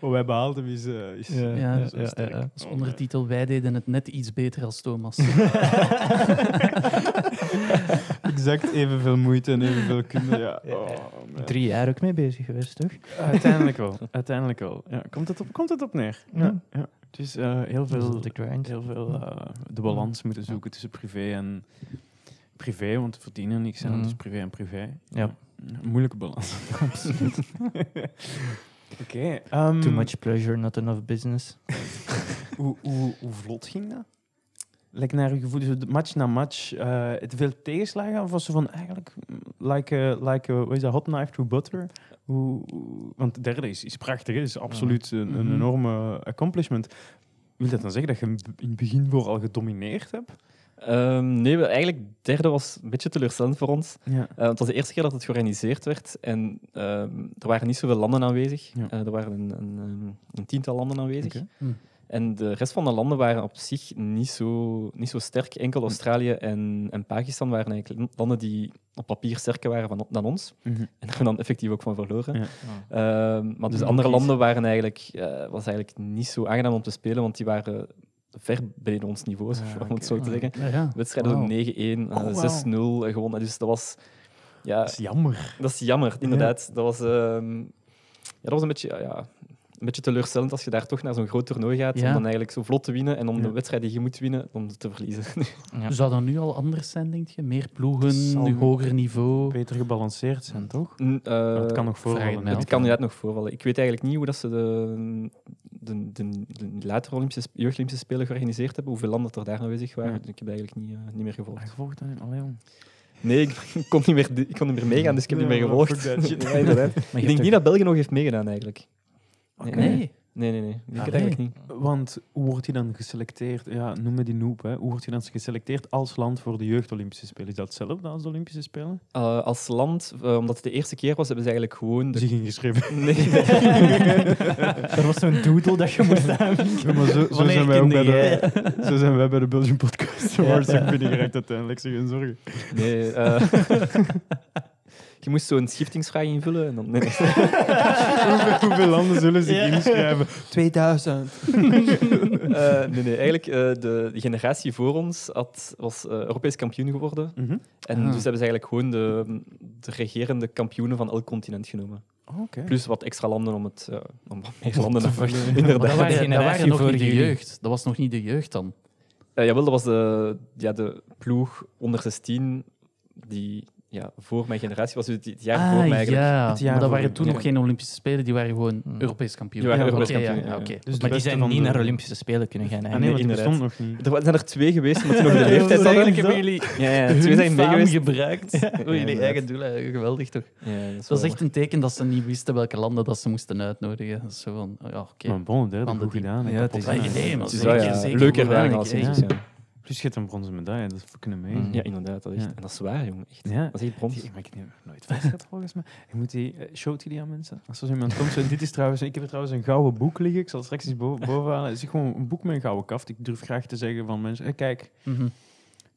S4: Wat wij behaald hebben is... eh, is
S6: Ja,
S5: Ja,
S6: ja,
S4: zo sterk.
S6: ja, ja.
S5: Als ondertitel, wij deden het net iets beter als Thomas.
S4: Exact evenveel moeite en evenveel kunde, ja. Oh, man.
S6: Drie jaar ook mee bezig geweest, toch?
S4: Uiteindelijk wel, uiteindelijk wel. Ja, komt, het op, komt het op neer. Ja, ja. Dus eh, heel
S6: Dat is
S4: veel
S6: op Mm. de grind.
S4: heel veel eh, de balans moeten zoeken tussen privé en privé, want we verdienen niks aan,
S6: Mhm.
S4: dus privé en privé.
S6: Ja.
S4: Moeilijke balans. Oké. ehm,
S6: Too much pleasure, not enough business.
S4: Hoe, hoe, hoe vlot ging dat? Like naar uw gevoel, zo de- match na match, eh, het veel tegenslagen? Of was ze van eigenlijk, mm, like, eh, like eh, wat is dat, hot knife to butter? Hoe, hoe- want de derde is, is prachtig, hè? is absoluut een, een
S5: Mhm.
S4: enorme accomplishment. Wil dat dan zeggen dat je in in het begin voor al gedomineerd hebt?
S3: Ehm, nee, we- eigenlijk derde was een beetje teleurstellend voor ons.
S4: Ja.
S3: Eh, het was de eerste keer dat het georganiseerd werd en ehm, er waren niet zoveel landen aanwezig.
S4: Ja.
S3: Eh, er waren een, een, ehm, een tiental landen aanwezig.
S4: Oké.
S5: Hm.
S3: En de rest van de landen waren op zich niet zo, niet zo sterk. Enkel
S4: Hm.
S3: Australië en, en Pakistan waren eigenlijk landen die op papier sterker waren van, dan ons.
S4: Mhm.
S3: En daar hebben we dan effectief ook van verloren.
S4: Ja.
S3: Ehm, maar dus
S5: Ja,
S3: andere
S5: precies.
S3: landen waren eigenlijk, eh, was eigenlijk niet zo aangenaam om te spelen, want die waren ver beneden ons niveau,
S4: Ah,
S3: om het zo
S4: oké.
S3: te zeggen.
S5: Ja, ja.
S3: Wedstrijden
S5: Wauw.
S3: ook 9-1, eh,
S4: Oh, wauw.
S3: 6-0 eh, gewonnen. Dus dat was, ja,
S4: Dat is jammer.
S3: dat is jammer, inderdaad. Dat, was, ehm, ja, dat was een beetje, ja, een beetje teleurstellend als je daar toch naar zo'n groot toernooi gaat,
S5: Ja.
S3: om dan eigenlijk zo vlot te winnen en om
S4: Ja.
S3: de wedstrijd die je moet winnen, om te verliezen.
S6: Ja.
S5: Zou dat nu al anders zijn, denk je? Meer
S4: Zal
S5: ploegen,
S4: nu-
S5: een hoger niveau?
S4: Beter gebalanceerd zijn, toch?
S3: Mm, eh,
S4: Maar het kan nog
S5: vraag
S4: voorvallen.
S5: het mij
S4: hè?
S3: Het kan inderdaad nog voorvallen. Ik weet eigenlijk niet hoe dat ze de, de, de, de latere Olympische, Sp- jeugd-Olympische Spelen georganiseerd hebben, hoeveel landen dat er daar aanwezig waren.
S4: Ja.
S3: Dus Ik heb dat eigenlijk niet, eh, niet meer
S4: Heb je
S3: gevolgd.
S4: gevolgd dan? Allee, jong.
S3: Nee, ik, kon niet meer, ik kon niet meer meegaan, dus ik heb
S4: Nee,
S3: niet meer
S4: maar fuck
S3: gevolgd.
S4: that shit.
S3: Ja, inderdaad.
S5: Maar
S3: Ik
S5: je
S3: denk
S5: hebt
S3: niet dat België nog heeft meegedaan, eigenlijk.
S5: toch-
S3: nee.
S5: Nee.
S3: Nee, nee, nee. Ik denk
S5: Ah,
S3: het
S5: nee.
S3: eigenlijk niet.
S4: Want hoe wordt hij dan geselecteerd? Ja, noem me die noob. Hè. Hoe wordt hij dan geselecteerd als land voor de jeugd-Olympische Spelen? Is dat hetzelfde als de Olympische Spelen?
S3: Eh, als land, eh, omdat het de eerste keer was, hebben ze eigenlijk gewoon... De...
S4: Zich ingeschreven.
S3: Nee.
S6: er was zo'n doodle dat je moest aanvinken.
S4: Ja, maar zo, zo,
S6: Wanneer
S4: zijn wij ook bij
S6: kende
S4: de, zo zijn wij bij de Belgian Podcast Awards
S6: Ja.
S4: ook binnengeraakt uiteindelijk. Zeg geen zorgen.
S3: nee eh, je moest zo'n schiftingsvraag invullen en dan... Nee, nee.
S4: hoeveel, hoeveel landen zullen zich
S6: Ja.
S4: inschrijven? 2000.
S3: Eh, nee, nee, eigenlijk eh, de, de generatie voor ons had, was eh, Europees kampioen geworden.
S4: Mhm.
S3: En
S5: Ah.
S3: dus hebben ze eigenlijk gewoon de, de regerende kampioenen van elk continent genomen.
S4: Oh, Oké.
S3: Plus wat extra landen om, het, eh, om wat meer landen te
S5: Maar dat
S3: Inderdaad.
S5: waren,
S6: De
S5: dat
S6: generatie
S5: waren nog
S6: voor
S5: niet de
S6: jullie.
S5: jeugd. Dat was nog niet de jeugd dan.
S3: Eh, jawel, dat was de, ja, de ploeg onder 16 die ja, voor mijn generatie was, dus het- het jaar voor mij eigenlijk.
S5: Ah, ja.
S4: Het jaar
S5: maar dat
S4: voor
S5: waren toen
S3: ja.
S5: nog geen Olympische Spelen, die waren gewoon
S6: Hmm.
S5: Europees kampioen.
S3: Die waren
S5: Ja,
S3: Europees
S5: oké, ja,
S3: kampioen, ja,
S5: ja, oké.
S3: ja.
S4: Dus de
S6: Maar die
S4: beste
S6: zijn
S4: van
S6: niet
S4: de-
S6: naar Olympische Spelen kunnen
S4: Ah,
S6: gaan.
S4: nee,
S6: eigenlijk.
S4: want die
S3: inderdaad.
S4: bestond nog niet.
S3: Er wa- zijn er twee geweest, maar die nog de leeftijd
S6: eigenlijk
S3: hadden.
S6: hebben
S3: jullie... Ja, ja, twee zijn mee geweest.
S5: gebruikt. Voor jullie
S3: inderdaad.
S5: eigen doelen, geweldig toch?
S3: Ja, dat is
S5: Dat is
S3: wel-
S5: echt een teken dat ze niet wisten welke landen dat ze moesten uitnodigen. Dat is Zo van, oh ja, oké.
S4: Maar bon, een derde
S5: Van de
S4: goed
S5: team.
S4: gedaan. hè.
S6: Ja, het is-
S4: Kapot.
S5: Ja, nee, maar
S3: Het is
S5: zeker,
S3: wel, ja,
S5: zeker.
S3: leuke ervaring
S5: belangrijk, hè.
S3: als sinds, ja.
S4: Plus je hebt een bronzen medaille. Dat is fucking amazing.
S6: Mhm.
S3: ja, inderdaad. Dat is,
S4: Mm. Ja.
S3: echt- En dat is waar, jongen. Echt.
S4: Ja.
S3: Dat is echt brons.
S4: Die, maar ik heb die nooit vastgezet, volgens mij. Ik moet die, eh, showt hij die aan mensen? Als er zo iemand komt, zo, dit is trouwens, ik heb er trouwens een gouden boek liggen, ik zal het straks eens boven, bovenhalen. Het is gewoon een boek met een gouden kaft. Ik durf graag te zeggen van mensen, eh, kijk, dit
S5: Mhm.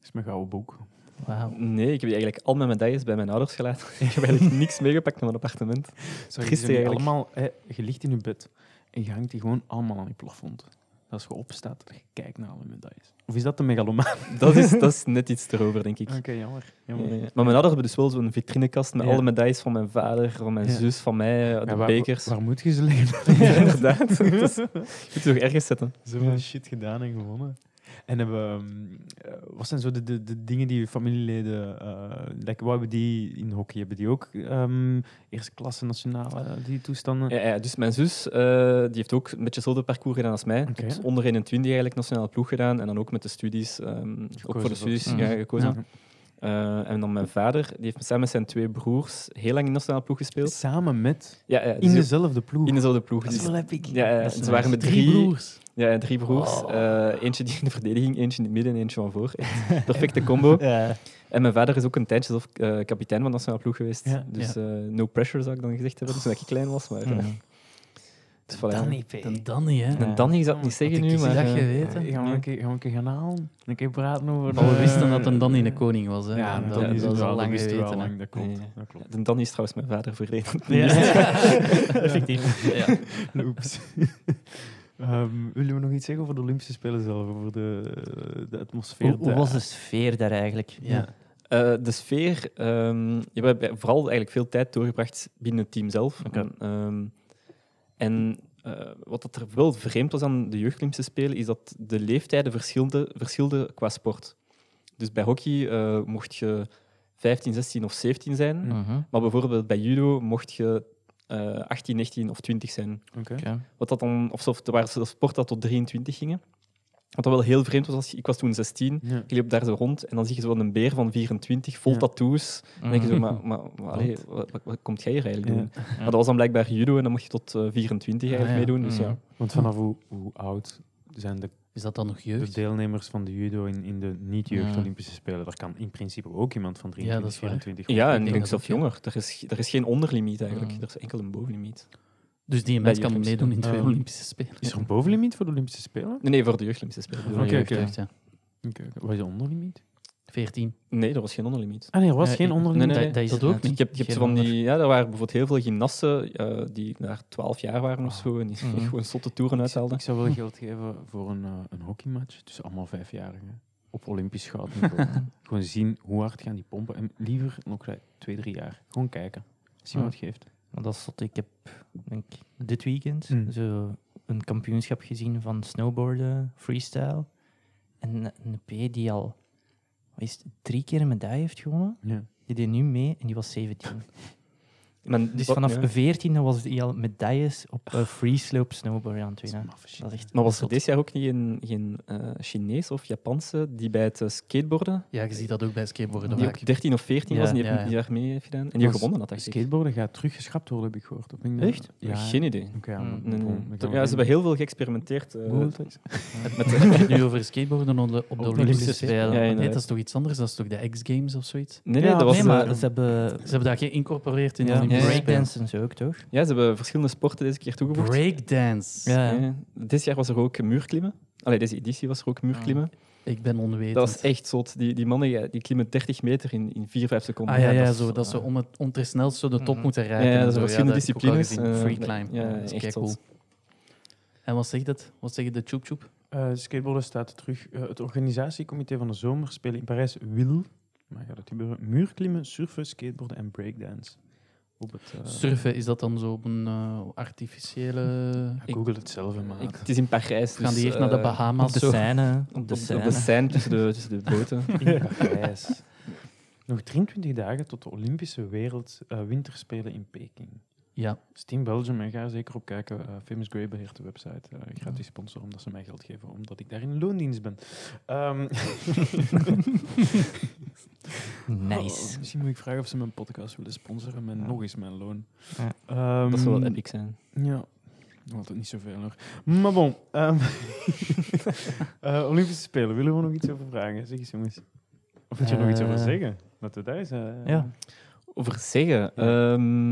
S4: is mijn gouden boek.
S5: Wauw.
S3: Nee, ik heb eigenlijk al mijn medailles bij mijn ouders gelaten. ik heb eigenlijk niks meegepakt naar mijn appartement.
S4: Sorry,
S3: Triest
S4: die zijn
S3: eigenlijk.
S4: allemaal, eh, je ligt in je bed en je hangt die gewoon allemaal aan je plafond. Als je opstaat, dat je kijkt naar alle medailles. Of is dat de megalomaan?
S3: Dat is, dat is net iets erover, denk ik.
S4: Oké, jammer.
S3: Ja,
S4: Ah, jammer.
S3: ja. Maar mijn ouders hebben dus wel zo'n vitrinekast met
S4: Ja.
S3: alle medailles van mijn vader, van mijn
S4: Ja.
S3: zus, van mij, eh, de
S4: Ja, waar,
S3: bekers.
S4: Waar moet je ze liggen?
S3: Ja, inderdaad. Dat is- Je moet ze toch ergens zetten.
S4: Zoveel shit gedaan en gewonnen. En hebben, ehm, eh, wat zijn zo de, de, de dingen die je familieleden... eh like, wat hebben die in hockey? Hebben die ook ehm eerste klasse, nationale, die toestanden?
S3: Ja, ja, dus mijn zus eh, die heeft ook een beetje hetzelfde parcours gedaan als mij.
S4: Oké.
S3: Tot onder 21 eigenlijk nationale ploeg gedaan en dan ook met de studies, ehm, ook
S4: Gekozen
S3: voor de
S4: voor- Mm.
S3: studies
S6: Mhm.
S3: ja, gekozen.
S4: Ja.
S3: Eh, en dan mijn vader, die heeft samen met zijn twee broers heel lang in de nationale ploeg gespeeld.
S4: Samen met.
S3: Ja, ja, dus
S4: Dus In
S3: ook
S4: dezelfde ploeg.
S3: in dezelfde ploeg.
S4: dat is
S3: Dus-
S4: wel epic.
S3: ja, ja,
S5: Dat
S3: ze
S5: is nice.
S3: waren met drie,
S5: broers.
S3: Ja, drie broers.
S5: Oh.
S3: Eh, eentje die in de verdediging, eentje in het midden en eentje van voor. Echt Perfecte combo.
S6: Ja.
S3: En mijn vader is ook een tijdje zelf eh, kapitein van de nationale ploeg geweest.
S4: Ja.
S3: dus eh, no pressure zou ik dan gezegd hebben, toen ik klein was. Maar, eh,
S6: Mhm.
S3: dus voilà.
S4: Danny P.
S5: Dan Hmm. Danny, hè.
S6: Ja.
S3: En Danny zou ik niet zeggen nu,
S5: Had ik dus
S3: maar...
S5: dat
S3: eh,
S5: geweten?
S4: Gaan we een keer, gaan we een keer gaan halen? Een keer praten over...
S5: Al
S4: de-
S5: wisten dat een Danny de koning was, hè.
S4: Ja,
S5: En
S4: dat,
S5: dat,
S4: is
S5: dat
S4: het
S5: is
S4: wel,
S5: al lang
S4: dat wisten we al
S5: geweten. hè.
S4: lang, Dat klopt.
S3: Nee.
S4: Dat klopt.
S3: En Danny is trouwens mijn vader verleden.
S6: Effectief.
S5: Ja.
S4: Oeps. Ehm, willen we nog iets zeggen over de Olympische Spelen zelf? Over de, de atmosfeer?
S6: Hoe, hoe
S4: daar?
S6: was de sfeer daar eigenlijk?
S5: Ja.
S3: Eh, de sfeer, ehm, je hebt vooral eigenlijk veel tijd doorgebracht binnen het team zelf.
S6: Oké.
S3: Ehm, en eh, wat dat er wel vreemd was aan de jeugdlimse spelen, is dat de leeftijden verschilden, verschilden qua sport. Dus bij hockey eh, mocht je 15, 16 of 17 zijn.
S6: Mhm.
S3: Maar bijvoorbeeld bij judo mocht je eh, 18, 19 of 20 zijn.
S6: Oké.
S3: Wat dat dan, of zelfs, er waren zelfs sporten dat tot 23 gingen. Wat dat wel heel vreemd was, als je- ik was toen 16
S4: Ja.
S3: je loopt daar zo rond en dan zie je zo'n een beer van 24, vol
S4: Ja.
S3: tattoos. Dan denk je zo,
S6: Mhm.
S3: maar, maar, maar allee, wat, wat- wat komt jij hier eigenlijk
S4: Ja.
S3: doen? Maar dat was dan blijkbaar judo en dan mocht je tot eh, 24 eigenlijk
S5: Ah, ja.
S3: meedoen. Dus ja.
S6: Mhm.
S4: Want vanaf hoe, hoe oud zijn de,
S5: Is dat dan nog
S4: de
S5: jeugd?
S4: deelnemers van de judo in, in de niet-jeugd-Olympische Spelen? Daar kan in principe ook iemand van
S5: Ja, dat
S4: 23,
S5: is waar.
S4: 24 of
S3: ja, en
S4: 20.
S3: ik
S5: denk
S3: denk
S5: dat
S3: zelf
S5: ook, ja.
S3: jonger. Er is, er is geen onderlimiet eigenlijk.
S6: Mhm.
S3: Er is enkel een bovenlimiet.
S5: Dus die mens
S3: je
S5: kan
S3: Olympische
S5: meedoen in twee
S4: Spelen.
S5: Olympische Spelen.
S4: Is er een bovenlimiet voor de Olympische Spelen?
S3: Nee, nee voor de jeugdlimpische spelen. bedoel
S4: Oké,
S3: ik.
S5: Jeugd,
S4: oké.
S5: jeugd, ja.
S4: Oké, oké. Wat is de onderlimiet?
S5: 14.
S3: Nee, er was geen onderlimiet. Dus
S4: Ah nee, er was
S5: Eh,
S4: geen
S5: ik-
S4: onderlimiet.
S3: Nee, nee,
S5: Dat, dat is
S6: dat
S5: het
S6: ook
S5: net.
S3: Je hebt, je hebt
S5: Geen
S3: zo van
S5: ander.
S3: die, ja, er waren bijvoorbeeld heel veel gymnasten eh, die naar 12 jaar waren of zo en die
S6: Mhm.
S3: gewoon zotte toeren
S4: Ik zou-
S3: uithaalden.
S4: Ik zou wel geld geven voor een, eh, een hockeymatch tussen allemaal vijfjarigen. Op Olympisch goud. niveau. Gewoon zien hoe hard gaan die pompen. En liever nog gelijk twee, drie jaar. Gewoon kijken. Zien wat het geeft.
S6: Want dat is zot. Ik heb denk, ik, dit weekend
S3: Hm.
S4: Mm.
S6: zo een kampioenschap gezien van snowboarden, freestyle. En een P die al wat is het, drie keer een medaille heeft gewonnen.
S4: Ja.
S6: Die deed nu mee en die was 17.
S3: Men-
S6: Dus
S3: wat-
S6: vanaf
S3: ja.
S6: 14 was hij al medailles op eh, freeslope snowboarden aan het winnen. Dat is echt
S3: Maar was er
S6: zot.
S3: dit jaar ook niet een, geen eh, Chinees of Japanse die bij het eh, skateboarden,
S5: Ja, je ziet dat ook bij skateboarden
S3: die
S5: vaak.
S3: ook 13 of 14
S5: Ja,
S3: was en die, heeft
S5: ja,
S3: die daar mee eh, heeft gedaan? En die
S4: Was
S3: gewonnen had, dacht ik.
S4: Skateboarden gaat teruggeschrapt worden, heb ik gehoord. Of ben ik dat-
S3: Echt?
S4: Ja.
S3: Geen idee.
S4: Oké, ja,
S6: Mm.
S4: maar
S3: Nee, nee.
S4: bon, ik kan
S3: Ja,
S4: het
S3: ze
S4: niet.
S3: hebben heel veel geëxperimenteerd. eh,
S4: Google het eens.
S5: Met de, heb je het nu over skateboarden op de, op de Olympische,
S6: Olympische
S5: Spelen.
S6: Spelen.
S3: Ja,
S5: Maar nee,
S3: inderdaad.
S5: dat is toch iets anders? Dat is toch de X-Games of zoiets?
S3: Nee, nee,
S4: Ja,
S3: dat was,
S6: nee, maar
S3: eh,
S6: ze hebben
S5: Ze hebben dat geïncorporeerd in de
S3: Ja.
S5: Olympische
S3: Ja, ja.
S5: Spelen.
S6: breakdansen zo ook, toch?
S3: ja, ze hebben verschillende sporten deze keer toegevoegd.
S5: Breakdance.
S6: Ja.
S3: Ja, dit jaar was er ook muurklimmen. Allee, deze editie was er ook muurklimmen.
S5: Ik ben onwetend.
S3: Dat was echt zot. Die, die mannen ja, die klimmen 30 meter in, in 4, 5 seconden.
S5: Ah ja, ja,
S3: dat is-
S5: zo, dat ze om het om ter snelste de top
S6: Mhm.
S5: moeten
S3: Ja,
S5: rijden.
S3: ja,
S5: en
S3: dat
S5: zo.
S3: zijn verschillende
S5: dat heb ik ook al
S3: disciplines.
S5: gezien.
S3: eh,
S5: Free
S3: nee,
S5: climb.
S3: Ja,
S5: dat is
S3: echt
S5: cool.
S3: zot.
S5: En wat zegt dat? Wat zeggen de Choep Choep?
S4: Eh, skateboarden staat terug. Eh, het organisatiecomité van de zomerspelen in Parijs wil, maar gaat het gebeuren, muurklimmen, surfen, skateboarden en breakdance. Op het, eh,
S5: Surfen, is dat dan zo op een eh, artificiële...
S4: ja, Google het zelf, hè, maar
S3: Ik- Het is in Parijs.
S5: Gaan die
S3: dus,
S5: echt naar de
S3: eh,
S5: Bahama's?
S6: Op de
S5: zo?
S6: scène.
S3: Op
S6: Op
S3: de,
S6: de
S3: op de
S6: scène.
S3: scène tussen de, tussen de boten.
S4: in Parijs. Nog 23 dagen tot de Olympische wereld eh, winterspelen in Peking.
S5: Ja.
S4: Steam Belgium, en ga er zeker op kijken. Eh, Famous Grey beheert de website. Eh gratis sponsor, omdat ze mij geld geven, omdat ik daar in loondienst ben. Ehm,
S6: Nice.
S4: Oh, misschien moet ik vragen of ze mijn podcast willen sponsoren met
S6: Ja.
S4: nog eens mijn loon.
S6: Ja.
S4: Ehm,
S3: Dat zou wel epic zijn.
S4: Ja, altijd niet zoveel nog. Maar bon, ehm, eh, Olympische Spelen, willen we nog iets over vragen? Zeg eens jongens. Of wil je er nog iets over
S6: Eh,
S4: zeggen? Dat we daar zijn.
S6: ja.
S3: Over zeggen. ehm,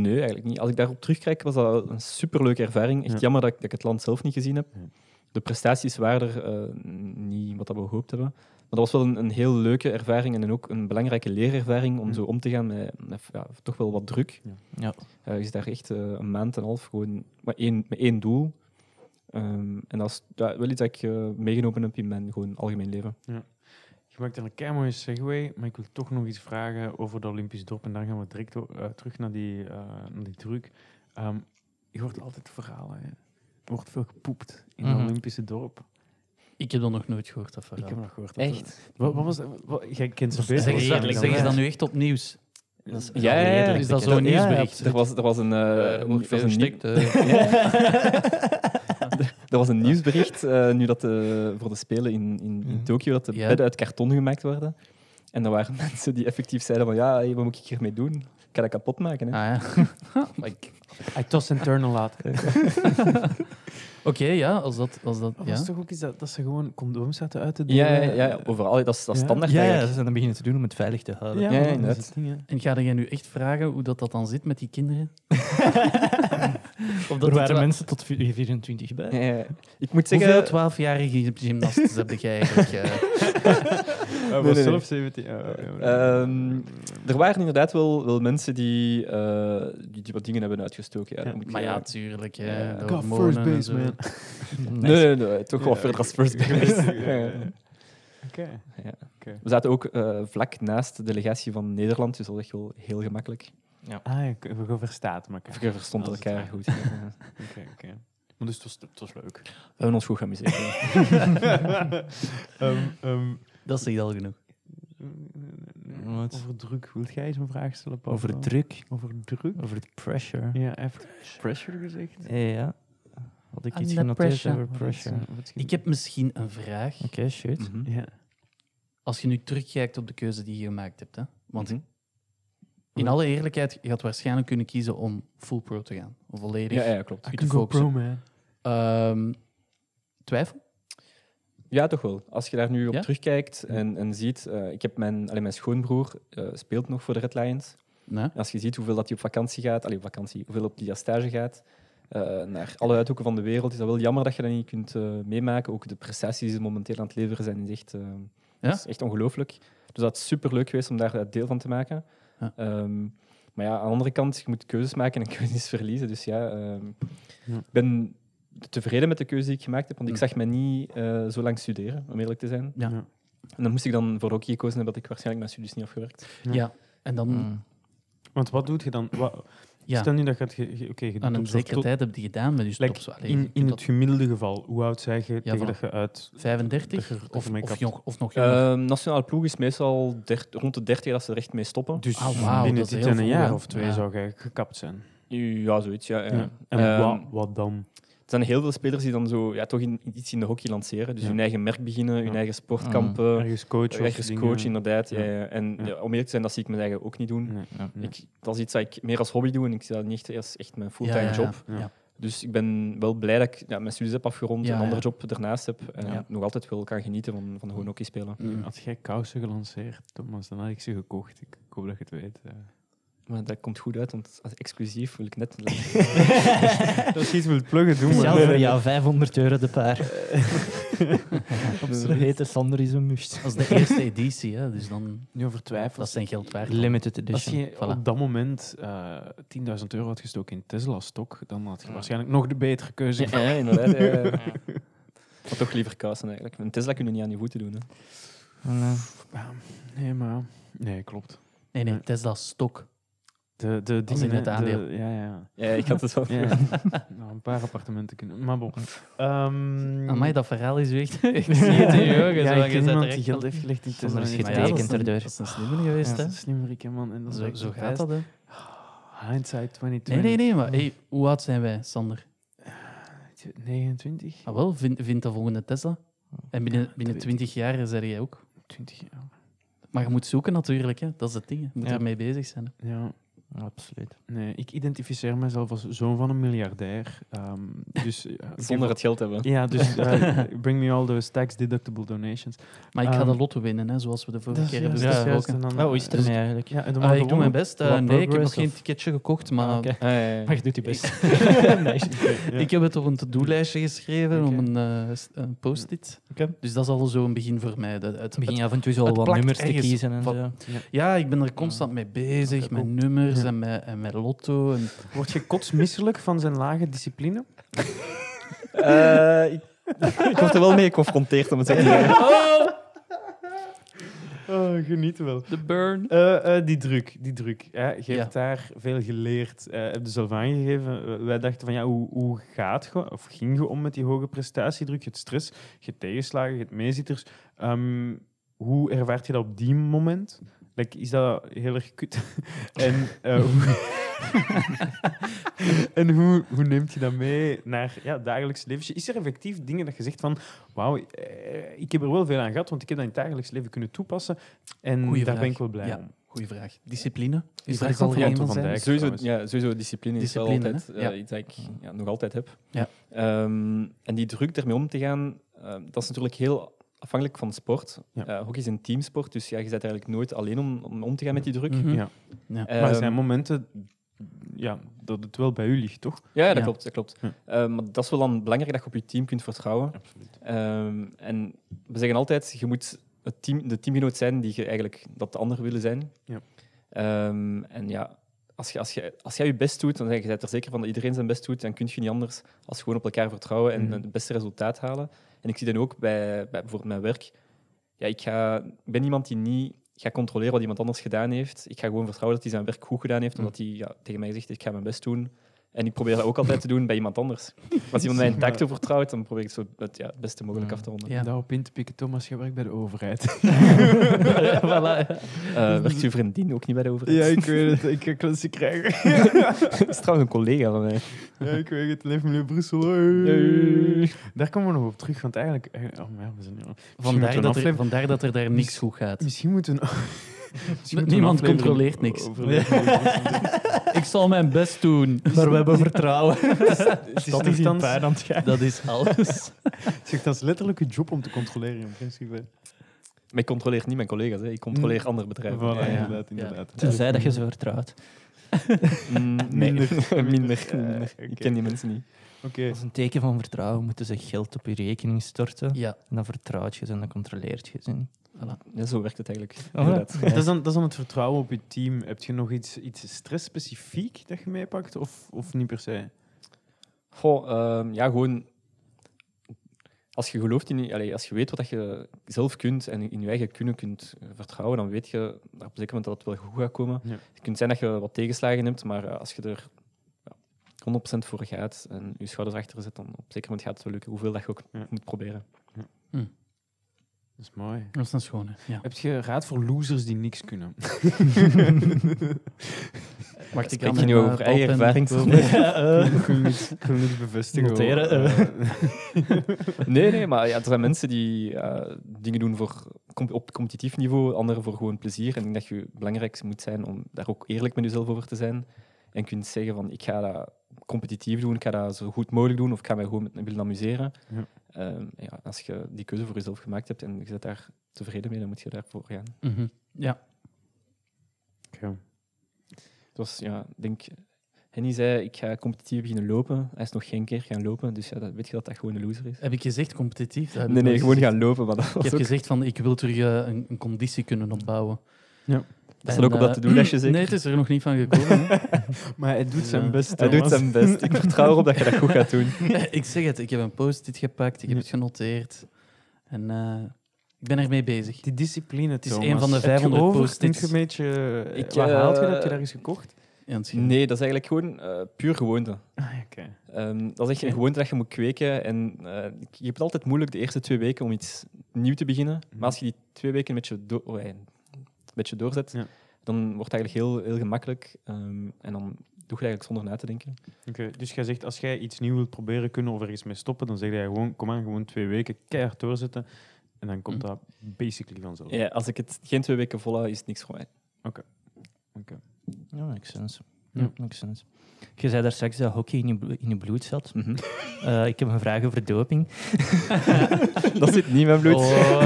S3: nee, eigenlijk niet. Als ik daarop terugkijk, was dat een superleuke ervaring. Echt
S4: Ja.
S3: jammer dat ik, dat ik het land zelf niet gezien heb.
S4: Ja.
S3: De prestaties waren er eh, niet wat dat we gehoopt hebben. Maar dat was wel een, een heel leuke ervaring en ook een belangrijke leerervaring om
S4: Ja.
S3: zo om te gaan met, met, ja, toch wel wat druk.
S6: Ja.
S3: Eh, je is daar echt eh, een maand en een half gewoon maar één, met één doel. Ehm, en dat is ja, wel iets dat ik eh, meegenomen heb in mijn gewoon algemeen leven.
S4: Je maakt daar een kei mooie segue, maar ik wil toch nog iets vragen over de Olympisch dorp. En dan gaan we direct o- eh, terug naar die, eh, naar die truc. Ehm, je hoort altijd verhalen. Hè. Er wordt veel gepoept in het
S6: Mhm.
S4: Olympische dorp.
S5: Ik heb dat nog nooit gehoord, dat verhaal.
S4: Ik heb nog gehoord. dat-
S3: Echt?
S4: Wat, wat was dat? Wat- jij kent ze
S5: Zeg,
S4: beter.
S5: eens-
S4: dan
S5: zeg,
S4: ik
S5: eens
S4: dan
S5: dat
S4: wij.
S5: nu echt op nieuws.
S3: Dat is,
S5: Ja, redelijk. Is dat zo'n nieuwsbericht?
S3: er was, er was een, eh,
S5: Eh,
S3: een-
S5: wordt
S3: er was
S5: veel
S3: een nieuw-
S5: gestikt, eh.
S3: Er was een nieuwsbericht eh, nu dat de, voor de Spelen in, in, in
S6: Mhm.
S3: Tokio dat de
S5: Ja.
S3: bedden uit karton gemaakt werden. En er waren mensen die effectief zeiden van ja, hey, wat moet ik hiermee doen? Ik kan dat kapot maken. Hè?
S5: Ah, ja. Maar ik-
S6: I toss and turn a lot.
S5: Oké, ja, als dat... Als dat
S4: Dat
S5: ja.
S4: was toch ook iets dat, dat ze gewoon condooms zaten uit te doen?
S3: Ja, ja, eh, ja, ja, overal. Dat is, dat is
S4: Ja.
S3: standaard
S6: Ja, ja,
S3: eigenlijk.
S6: ze zijn dan beginnen te doen om het veilig te houden.
S3: ja,
S4: dat is
S3: inderdaad.
S4: het ding, hè.
S5: En ga jij nu echt vragen hoe dat, dat dan zit met die kinderen? of
S6: er
S5: het
S6: waren
S5: wel-
S6: mensen tot vi- 24 bij.
S3: Ja, ja. Ik moet
S5: Hoeveel
S3: zeggen,
S5: 12-jarige gymnasten heb jij eigenlijk? eh?
S4: Oh,
S3: nee,
S4: was
S3: nee.
S4: zelf 17. Oh, oh, oh.
S3: Ehm, er waren inderdaad wel, wel mensen die, eh, die, die wat dingen hebben uitgestoken. Ja,
S4: Ja.
S3: dat moet ik
S5: maar ja,
S3: zeggen.
S5: tuurlijk.
S3: Ja.
S5: Ja.
S4: Ik ga first base, man.
S3: nee, nee, nee, toch wel
S4: Ja,
S3: verder als
S4: ik-
S3: first
S4: ik-
S3: base.
S4: ik- ik-
S3: Ja, ja.
S4: Oké.
S3: We zaten ook eh, vlak naast de delegatie van Nederland, dus dat was echt wel heel gemakkelijk.
S4: Ah, ja, we gaan verstaat elkaar.
S3: We verstonden
S4: Dat is
S3: elkaar
S4: het,
S3: goed. ja. We
S4: Oké, oké. Maar dus het was, het was leuk.
S3: hebben ons goed geamuseerd. ja.
S4: Ehm, ehm,
S5: Dat is al genoeg.
S6: Wat?
S4: Over druk. Wilt jij eens een vraag stellen, Paul?
S6: Over druk,
S4: Over druk?
S6: over de pressure.
S4: Ja, hij heeft pressure gezegd.
S6: Ja, ja. Had ik iets
S5: Under
S6: genoteerd
S5: pressure.
S6: over pressure? Oké,
S5: Ik heb misschien een vraag.
S6: shit.
S3: Mhm.
S4: Ja.
S5: Als je nu terugkijkt op de keuze die je gemaakt hebt. Hè? Want
S3: Mhm.
S5: in alle eerlijkheid, je had waarschijnlijk kunnen kiezen om full pro te gaan. Of volledig.
S3: ja, ja, klopt.
S5: can go pro,
S4: man.
S5: Ehm, twijfel?
S3: Ja, toch wel. Als je daar nu op
S5: Ja?
S3: terugkijkt en, en ziet, eh, ik heb mijn, allee, mijn schoonbroer eh, speelt nog voor de Red Lions.
S5: Nee?
S3: En als je ziet hoeveel dat hij op vakantie gaat, allee, op vakantie, hoeveel op die aan stage gaat, eh, naar alle uithoeken van de wereld, is dat wel jammer dat je dat niet kunt eh, meemaken. Ook de prestaties die ze momenteel aan het leveren zijn, is echt, eh,
S5: Ja?
S3: is echt ongelooflijk. Dus dat is superleuk geweest om daar eh, deel van te maken.
S5: Ja.
S3: Ehm, maar ja, aan de andere kant, je moet keuzes maken en keuzes verliezen. Dus ja, ehm,
S4: Ja.
S3: ik ben tevreden met de keuze die ik gemaakt heb, want ik
S5: Hm.
S3: zag mij niet eh, zo lang studeren, om eerlijk te zijn.
S5: Ja.
S3: En dan moest ik dan voor hockey gekozen hebben, dat ik waarschijnlijk mijn studies niet afgewerkt.
S5: Ja.
S4: Ja.
S5: En dan
S6: Mm.
S4: Want wat doet je dan? Wat,
S5: ja,
S4: Stel nu dat je het... ge- ge- Oké, je
S5: aan
S4: doet
S5: een
S4: op zo'n
S5: zekere
S4: tot-
S5: tijd heb je gedaan met je
S4: Like,
S5: stops. Allee, je
S4: in,
S5: kunt
S4: in
S5: dat
S4: het gemiddelde geval, hoe oud zeg je tegen
S5: vanaf-
S4: dat je uit... dat
S5: 35
S4: je- dat je
S5: of,
S4: mee
S5: of,
S4: kapt.
S5: jong, of nog
S4: Eh,
S5: jonger.
S3: Ehm nationale ploeg is meestal der- rond de 30 dat ze er echt mee stoppen.
S4: Dus
S5: Ah, wauw,
S4: binnen
S5: dat is
S4: dit
S5: heel
S4: en een
S5: vroeg,
S4: jaar
S5: hè?
S4: of twee
S5: Ja.
S4: zou je gekapt zijn.
S3: Ja, zoiets. Ja, ja.
S4: Ja. En
S3: Ehm,
S4: wat, wat dan?
S3: Er zijn heel veel spelers die dan zo ja, toch in, iets in de hockey lanceren. Dus
S4: Ja.
S3: hun eigen merk beginnen, hun
S4: Ja.
S3: eigen sportkampen,
S4: Ergens coach of
S3: eh, ergens
S4: dingen?
S3: coach inderdaad. Ja.
S4: Ja.
S3: ja. En
S4: Ja.
S3: ja, om eerlijk te zijn, dat zie ik mijn eigen ook niet doen.
S4: Nee.
S6: Ja.
S4: Nee.
S3: Ik, dat is iets dat ik meer als hobby doe en ik zie dat niet echt als echt mijn fulltime
S5: Ja, ja, ja.
S3: job.
S5: Ja.
S4: Ja.
S3: Dus ik ben wel blij dat ik ja, mijn studies heb afgerond,
S5: Ja,
S3: een andere
S5: ja.
S3: job ernaast heb en
S5: Ja.
S3: nog altijd wel kan genieten van, van gewoon hockey spelen.
S5: Mm.
S4: Had jij kousen gelanceerd, Thomas, dan had ik ze gekocht. Ik, ik hoop dat je het weet. eh.
S3: Maar dat komt goed uit, want als exclusief wil ik net...
S4: Als je iets wilt pluggen, doen
S6: Speciaal voor
S4: maar.
S6: jou, 500 euro de paar. Op zo'n hete Sander is een must.
S5: Dat is de eerste editie, hè? dus dan,
S4: Nu over
S5: dat
S4: twijfels.
S5: is zijn geld waard.
S6: Limited
S4: Als
S6: edition.
S4: je
S5: Voilà.
S4: op dat moment eh 10.000 euro had gestoken in Tesla-stok, dan had je waarschijnlijk nog de betere keuze.
S3: Ja, ja, inderdaad. ja, ja. Maar toch liever kousen eigenlijk. Een Tesla kun je niet aan je voeten doen. Hè.
S6: Voilà.
S4: Ah, Nee, maar... Nee, klopt.
S5: Nee, nee, Tesla stok.
S4: De, de
S5: Als
S4: dingen,
S5: in het
S4: hè,
S5: aandeel.
S4: de- ja, ja.
S3: Ja, ik had het wel.
S4: ja. nou, een paar appartementen kunnen... Maar bon. Ehm,
S5: Amai, dat verhaal is echt... ik zie het in je ogen.
S4: ja,
S5: zo,
S4: ik ken
S5: je zet
S4: iemand
S5: er
S4: die
S5: echt
S4: geld
S5: al-
S4: heeft gelegd in
S6: Zonder
S4: Tesla.
S6: is
S5: Maar ja,
S6: getekend
S5: dat is een-
S6: erdoor.
S5: Dat is een slimme geweest,
S6: Ja,
S5: hè?
S4: Dat is slimmerik, hè, man. En dat is
S5: Zo,
S4: echt Hmm.
S5: zo
S4: een
S5: gaat dat,
S4: feit.
S5: hè?
S4: Hindsight 2020.
S5: Nee, nee, nee, maar hey, hoe oud zijn wij, Sander?
S4: 29?
S5: Ah, wel, vind, vind de volgende Tesla. En binnen, binnen
S4: weet
S5: 20 jaar zei jij ook.
S4: 20 jaar.
S5: Maar je moet zoeken natuurlijk, hè? dat is het ding. Je moet
S6: Ja.
S5: ermee bezig zijn. hè.
S4: Ja.
S6: Absoluut.
S4: Nee, ik identificeer mezelf als zoon van een miljardair. Ehm, dus, eh, ik
S3: Zonder
S4: heb-
S3: het geld hebben.
S4: Ja, dus eh, bring me all those tax-deductible donations.
S5: Maar ik ga
S4: Ehm,
S5: de lotto winnen, hè, zoals we de vorige keer hebben
S6: juist, dat is
S5: besproken.
S6: Nou, hoe is het ermee eigenlijk?
S4: Ja, en dan
S5: Ah,
S4: hadden
S5: ik
S4: we
S5: doe mijn
S4: gewonnen.
S5: best. Eh,
S4: Wat
S5: nee, ik heb nog
S4: progress
S5: geen
S4: of-
S5: ticketje gekocht, maar
S6: Ah, oké.
S3: Ja, ja, ja.
S6: Maar je doet je best.
S4: Oké, ja.
S5: ik heb het op een to-do-lijstje geschreven,
S4: Oké.
S5: om een, eh, s- een post-it.
S6: Oké.
S5: Dus dat is al zo'n begin voor mij. Dat, het-
S6: Begin
S5: het-
S6: je af en toe zo
S5: het
S6: al wat
S5: plakt
S6: nummers te
S5: ergens
S6: kiezen en
S5: van-
S6: zo.
S5: ja, ik ben er constant mee bezig,
S4: Oké,
S5: met
S4: cool.
S5: nummers
S4: Ja.
S5: en, met, en met lotto. En,
S4: Word je kotsmisselijk van zijn lage discipline?
S3: Eh, ik, ik word er wel mee geconfronteerd om het zo te zeggen.
S4: Oh, geniet wel.
S5: de burn.
S4: Eh, eh, die druk, die druk. Hè. Je hebt
S5: Ja.
S4: daar veel geleerd. eh heb je zelf aangegeven. Eh, wij dachten van ja, hoe, hoe gaat je of ging je om met die hoge prestatiedruk? Je hebt stress, je hebt tegenslagen, je hebt meezitters. Ehm, hoe ervaart je dat op die moment? Like, is dat heel erg kut? en eh, hoe, en hoe, hoe neemt je dat mee naar ja, het dagelijks leven? Is er effectief dingen dat je zegt van... Wauw, eh, ik heb er wel veel aan gehad, want ik heb dat in het dagelijks leven kunnen toepassen. En
S5: Goeie
S4: daar ben
S5: vraag.
S4: ik wel blij
S5: Ja.
S4: om.
S5: Goeie vraag. Discipline? Is
S4: vraag
S5: daar
S4: komt
S5: al
S4: van
S5: geen
S4: Anton van
S5: van zijn?
S4: Dijk.
S3: Sowieso,
S4: trouwens.
S3: ja, sowieso discipline,
S5: Discipline,
S3: is wel altijd
S5: hè?
S3: eh, iets dat ik ja, nog altijd heb.
S5: Ja.
S3: Ehm, en die druk daarmee om te gaan, ehm, dat is natuurlijk heel afhankelijk van sport.
S4: Ja.
S3: Eh, hockey is een teamsport, dus ja, je bent eigenlijk nooit alleen om, om om te gaan met die druk.
S5: Mhm.
S4: Ja.
S5: Ja.
S3: Ehm,
S4: maar er zijn momenten ja, dat het wel bij u ligt, toch?
S3: ja, dat
S5: Ja.
S3: klopt. Dat klopt.
S4: Ja.
S3: Ehm, maar dat is wel dan belangrijk dat je op je team kunt vertrouwen.
S4: Absoluut.
S3: Ehm, en we zeggen altijd, je moet het team, de teamgenoot zijn die je eigenlijk dat de anderen willen zijn.
S4: Ja.
S3: Ehm, en ja, als, je, als, je, als jij je best doet, dan ben je bent er zeker van dat iedereen zijn best doet, dan kun je niet anders als gewoon op elkaar vertrouwen en
S4: Mhm.
S3: het beste resultaat halen. En ik zie dan ook bij, bij bijvoorbeeld mijn werk. Ja, ik, ga, ik ben iemand die niet gaat controleren wat iemand anders gedaan heeft. Ik ga gewoon vertrouwen dat hij zijn werk goed gedaan heeft,
S4: Mhm.
S3: omdat hij ja, tegen mij zegt, ik ga mijn best doen. En ik probeer dat ook altijd te doen bij iemand anders. Als iemand mij een taak toevertrouwt, dan probeer ik zo het, ja, het beste mogelijk
S5: Mhm.
S3: af te ronden.
S5: Ja.
S4: Daarop in te pikken, Thomas, je werkt bij de overheid.
S5: voilà.
S3: Eh, werkt uw vriendin ook niet bij de
S4: ja,
S3: overheid?
S4: ik weet het. Ik ga klassen krijgen.
S3: dat is trouwens een collega van mij.
S4: Ja, ik weet het. Leef meneer Brussel.
S3: Hey.
S4: Daar komen we nog op terug, want eigenlijk... eh, Oh, maar ja, we zijn hier al. moeten
S5: Vandaar,
S4: we
S5: dat er,
S4: afleveren.
S5: vandaar dat er daar niks goed gaat.
S4: Misschien moeten we... Misschien moeten we een
S5: Niemand
S4: aflevering
S5: controleert niks.
S4: over leefmilieu Brussel doen.
S5: Ik zal mijn best doen.
S6: Maar we hebben vertrouwen.
S4: Het is
S6: Dat is een
S4: nogthans-
S6: pijn aan het gaan.
S5: Dat is alles.
S4: zeg, dat is letterlijk je job om te controleren, in principe.
S3: Maar ik controleer niet mijn collega's, hè. ik controleer andere bedrijven.
S4: Hm.
S3: Eh,
S4: Voilà,
S5: ja.
S4: inderdaad,
S5: Ja.
S4: inderdaad.
S6: Tenzij dat je ze vertrouwt.
S3: Mm, nee,
S4: Minder.
S3: minder. minder.
S4: Eh, oké.
S3: Ik ken die mensen niet.
S4: Oké.
S6: Als een teken van vertrouwen moeten ze geld op je rekening storten.
S5: Ja,
S6: En dan vertrouwt je ze en dan controleert je ze niet.
S3: Ja, zo werkt het eigenlijk.
S6: ja.
S3: Inderdaad.
S4: Ah, Dat is, dan, dat is dan het vertrouwen op je team. Heb je nog iets, iets stress-specifiek dat je meepakt? Of, of niet per se?
S3: Goh, ehm, ja, gewoon. Als je gelooft in je, allee, als je weet wat dat je zelf kunt en in je eigen kunnen kunt eh, vertrouwen, dan weet je op een zeker moment dat het wel goed gaat komen.
S4: Ja.
S3: Het kunt zijn dat je wat tegenslagen hebt, maar eh, als je er ja, 100% voor gaat en je schouders achter zet, dan op een zeker moment gaat het wel lukken, hoeveel dat je ook
S4: Ja.
S3: moet proberen.
S4: Dat is mooi.
S5: dat is een schone. Ja.
S4: Heb je raad voor losers die niks kunnen?
S5: Wacht,
S3: Spreek je nu over eigen ervaring?
S5: Eh.
S4: ik wil niks, ik wil niks bevestigen. hoor.
S6: Noteren,
S4: Eh,
S3: Nee, nee, maar ja, er zijn mensen die eh, dingen doen voor, com- op competitief niveau, anderen voor gewoon plezier. En ik denk dat je belangrijk moet zijn om daar ook eerlijk met jezelf over te zijn. En kunt zeggen van, ik ga dat competitief doen, ik ga dat zo goed mogelijk doen, of ik ga mij gewoon met, willen amuseren.
S4: Ja.
S3: Ehm, ja, als je die keuze voor jezelf gemaakt hebt en je bent daar tevreden mee, dan moet je daarvoor gaan.
S5: Mhm. Ja,
S4: oké.
S3: Het was, ja, ik denk... Henny zei, ik ga competitief beginnen lopen. Hij is nog geen keer gaan lopen, dus ja, dat, weet je dat dat gewoon een loser is?
S5: heb ik gezegd competitief? Dat heb ik
S3: Nee, nee,
S5: nooit
S3: gewoon
S5: gezegd.
S3: gaan lopen. Maar dat
S5: Ik
S3: was
S5: heb
S3: ook-
S5: gezegd van, ik wil terug eh, een, een conditie kunnen opbouwen.
S4: Ja.
S3: Dat staat ook op
S5: eh,
S3: dat to-do-lijstje, zeker?
S5: Nee, het is er nog niet van gekomen. hè.
S4: Maar hij doet zijn
S5: Ja.
S4: best.
S3: Hij doet
S4: Thomas.
S3: zijn best. Ik vertrouw erop dat je dat goed gaat doen.
S5: ik zeg het, ik heb een post-it gepakt, ik heb het genoteerd. En eh, ik ben ermee bezig.
S4: Die discipline,
S5: is
S4: Thomas.
S5: een van de
S4: Heb je
S5: 500
S4: over?
S5: post-its.
S4: Kunt je een beetje...
S3: Ik,
S4: waar haalt je
S3: eh,
S4: dat? Heb je daar eens gekocht?
S5: Ja, het is-
S3: Nee, dat is eigenlijk gewoon eh, puur gewoonte.
S4: Ah, oké.
S3: Ehm, dat is echt een gewoonte dat je moet kweken. En eh, ik- je hebt het altijd moeilijk de eerste twee weken om iets nieuw te beginnen.
S4: Mhm.
S3: Maar als je die twee weken een beetje, do- oh, eh, een beetje doorzet,
S4: Ja.
S3: dan wordt het eigenlijk heel, heel gemakkelijk. Ehm, en dan doe je het eigenlijk zonder na te denken.
S4: Oké, Dus jij zegt, als jij iets nieuw wilt proberen kunnen of ergens mee stoppen, dan zeg jij gewoon, kom aan, gewoon twee weken keihard doorzetten. En dan komt
S5: Hm.
S4: dat basically vanzelf.
S3: Ja, als ik het geen twee weken volhoud, is het niks voor mij.
S6: Ja, makes sense.
S4: Ja.
S6: Ja, makes sense. Je zei daar straks dat hockey in je, blo- in je bloed zat.
S3: Mhm.
S6: Eh, ik heb een vraag over doping.
S3: dat zit niet in mijn bloed.
S5: Oh,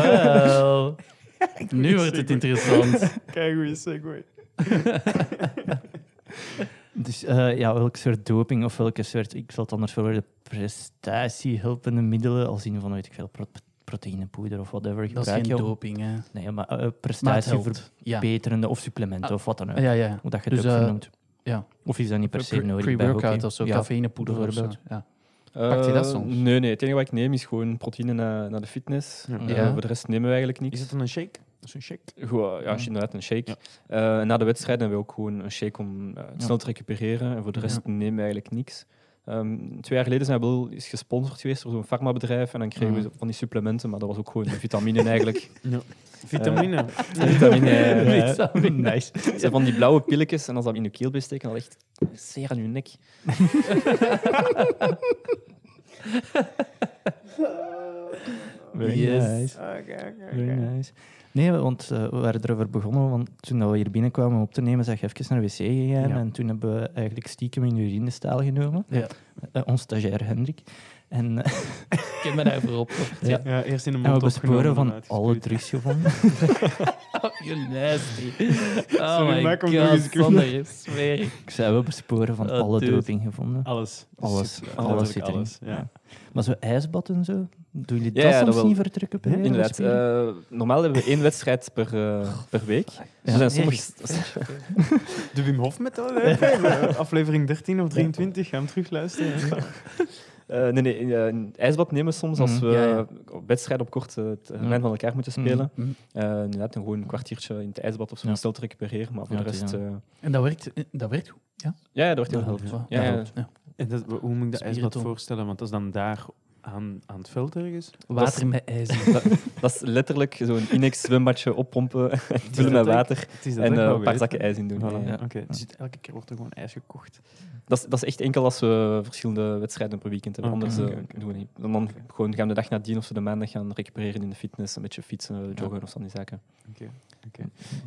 S5: wel. nu wordt het interessant.
S4: Kijk, goeie segue.
S6: Dus eh, ja, welk soort doping of welke soort, ik zal het anders verwoorden, prestatiehulpende middelen, als in van, weet ik veel, pro- proteïnepoeder of whatever,
S5: Dat is
S6: gebruik
S5: geen
S6: je om-
S5: doping, hè.
S6: Nee, maar eh,
S5: Maar het
S6: prestatieverbeterende
S5: helpt. Ja.
S6: of supplementen
S5: Ah,
S6: of wat dan ook.
S5: ja, ja.
S6: Hoe dat je
S5: Dus,
S6: het ook
S5: eh,
S6: vernoemt.
S5: ja.
S6: Of is dat niet per se
S5: Pre-
S6: nodig bij
S5: Pre-workout
S6: hockey?
S5: of zo,
S6: Ja.
S5: cafeïnepoeder of zo.
S6: bijvoorbeeld.
S5: Ja.
S3: Eh,
S5: Pakt hij dat soms?
S3: Nee, nee. Het enige wat ik neem is gewoon proteïne naar, naar de fitness.
S4: Ja.
S3: Eh,
S5: Ja.
S3: voor de rest nemen we eigenlijk niks.
S4: Is het dan een shake? Dat is een shake.
S3: Gewoon, ja, als je inderdaad een shake.
S4: Ja.
S3: Eh, na de wedstrijd hebben we ook gewoon een shake om eh,
S6: Ja.
S3: snel te recupereren. En voor de rest
S5: Ja.
S3: nemen we eigenlijk niks. Eh, Ehm, twee jaar geleden zijn we wel eens gesponsord geweest door zo'n farmabedrijf. En dan kregen we
S5: Ah.
S3: zo van die supplementen, maar dat was ook gewoon vitamine eigenlijk.
S4: Vitamine.
S3: vitamine. eh,
S6: Vitamine.
S3: Nice. Het zijn van die blauwe pilletjes. En als dat in je keel blijft steken, dan ligt zeer aan je nek.
S6: Very
S5: Yes.
S6: nice. Very nice. Nee, want eh, we waren erover begonnen, want toen dat we hier binnenkwamen om op te nemen, zijn we even naar de wc gegaan.
S4: Ja.
S6: En toen hebben we eigenlijk stiekem in de urinestaal genomen.
S5: Ja.
S6: Eh, ons stagiair Hendrik. En, eh,
S5: Ik heb me daarvoor opgeofferd.
S6: Ja.
S5: Ja.
S4: Ja, eerst in de
S6: en we
S4: mond
S6: besporen
S4: opgenomen en
S6: van
S4: uitgespuugd.
S6: alle drugs gevonden.
S5: Oh, you nasty.
S4: Sorry,
S5: Oh my
S4: maar kom nog eens
S5: god,
S4: kunnen.
S5: Sander, ik zweer. ik.
S6: Ik zei, we besporen van
S5: Oh,
S6: alle
S5: dude.
S6: doping gevonden.
S3: Ah.
S4: Alles.
S6: Alles.
S4: Zit-
S6: Alles
S4: letterlijk
S6: zit erin.
S4: Ja.
S6: Maar zo ijsbad en zo, doen jullie
S3: Ja,
S6: dat
S3: ja, dat
S6: soms
S3: wel.
S6: niet voor drukke periode?
S3: Inderdaad. eh, normaal hebben we één wedstrijd per, eh, per week. Er zijn
S6: dus
S3: sommige...
S4: De Wim Hof methode. hè? Aflevering 13 of 23. Ga hem terugluisteren.
S3: Eh, nee, nee, eh, een ijsbad nemen we soms als
S6: Mhm.
S3: we
S5: Ja, ja.
S3: op wedstrijden op korte termijn
S6: Mhm.
S3: van elkaar moeten spelen.
S5: Mhm.
S3: Eh, inderdaad, dan gewoon een kwartiertje in het ijsbad of zo
S5: Ja.
S3: snel te recupereren. Maar voor
S5: Ja,
S3: de
S5: het is
S3: rest...
S5: ja.
S3: eh,
S5: En dat werkt, eh, dat werkt goed.
S3: ja, ja, dat wordt heel
S5: Dat
S3: goed.
S5: helpt wel.
S3: Ja, ja.
S5: Dat helpt, ja.
S4: En dat, hoe moet ik dat ijsbad
S5: Spiriton.
S4: voorstellen? Want dat is dan daar aan, aan het veld ergens.
S5: Water met ijs. in.
S3: dat, dat is letterlijk zo'n inex zwembadje oppompen, vullen met
S4: dat ik-
S3: water
S4: Het is dat
S3: en
S4: ik
S3: eh,
S4: wel
S3: een paar
S4: weet.
S3: zakken ijs in doen.
S4: Voilà.
S3: Ja, ja.
S4: Oké, dus het- elke keer wordt er gewoon ijs gekocht.
S3: Dat, is, dat is echt enkel als we verschillende wedstrijden per weekend hebben.
S4: Oké,
S3: Anders eh,
S4: oké, oké.
S3: doen we niet. En Dan gewoon gaan we de dag nadien of zo de maandag gaan recupereren in de fitness, een beetje fietsen, joggen of zo die zaken.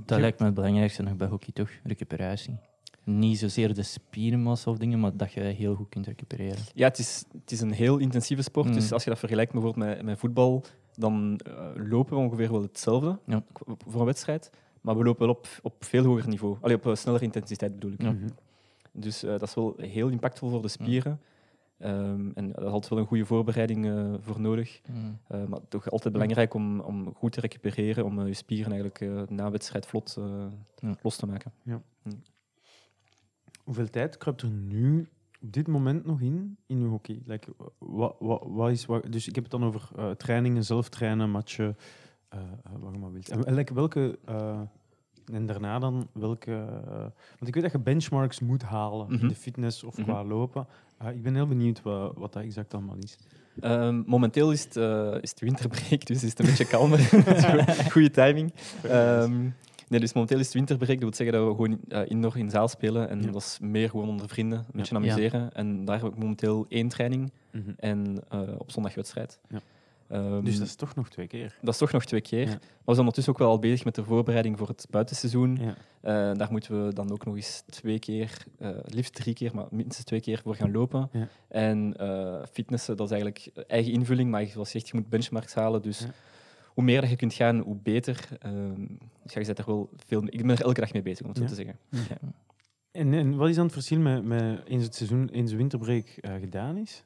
S6: Dat lijkt me het belangrijkste nog bij hockey, toch? Recuperatie. Niet zozeer de spiermassa of dingen, maar dat je heel goed kunt recupereren.
S3: Ja, het is, het is een heel intensieve sport.
S6: Mm.
S3: Dus als je dat vergelijkt bijvoorbeeld met, met voetbal, dan eh, lopen we ongeveer wel hetzelfde
S6: Ja.
S3: k- voor een wedstrijd. Maar we lopen wel op, op veel hoger niveau. Allee, op eh, snellere intensiteit bedoel ik.
S6: Ja.
S4: Mhm.
S3: Dus eh, dat is wel heel impactvol voor de spieren. Ehm, en daar had wel een goede voorbereiding eh, voor nodig. Eh, maar toch altijd belangrijk om, om goed te recupereren, om eh, je spieren eigenlijk eh, na wedstrijd vlot eh,
S6: Ja.
S3: los te maken.
S4: Hoeveel tijd kruipt er nu op dit moment nog in, in uw hockey? Like, wat, wat, is, wa- dus ik heb het dan over eh, trainingen, zelf trainen, matchen, eh eh, wat je maar wilt. En, en like, welke, eh, en daarna dan welke... eh, want ik weet dat je benchmarks moet halen
S3: Mhm.
S4: in de fitness of
S3: Mhm.
S4: qua lopen. Eh, ik ben heel benieuwd wat, wat dat exact allemaal is.
S3: Ehm, momenteel is het, eh, is het winterbreak, dus is het een beetje kalmer. Het is gewoon Goede timing. Ehm, nee, dus momenteel is het winterbreak. Dat wil zeggen dat we gewoon eh, indoor in zaal spelen. En
S4: Ja.
S3: dat is meer gewoon onder vrienden, een beetje
S5: Ja.
S3: amuseren. En daar heb ik momenteel één training
S4: Mhm.
S3: en eh, op zondag wedstrijd.
S4: Ja.
S3: Ehm,
S4: Dus dat is toch nog twee keer.
S3: dat is toch nog twee keer.
S4: Ja.
S3: Maar we zijn ondertussen ook wel al bezig met de voorbereiding voor het buitenseizoen.
S4: Ja.
S3: Eh, daar moeten we dan ook nog eens twee keer, eh, het liefst drie keer, maar minstens twee keer voor gaan lopen.
S4: Ja.
S3: En eh, fitnessen, dat is eigenlijk eigen invulling, maar zoals je zegt, je moet benchmarks halen. Dus
S4: Ja.
S3: hoe meer dat je kunt gaan, hoe beter. Ehm, dus ja, je bent er wel veel mee- Ik ben er elke dag mee bezig, om het
S4: Ja.
S3: zo te zeggen.
S4: En, en wat is dan het verschil met, met eens het seizoen, eens de winterbreak eh, gedaan is?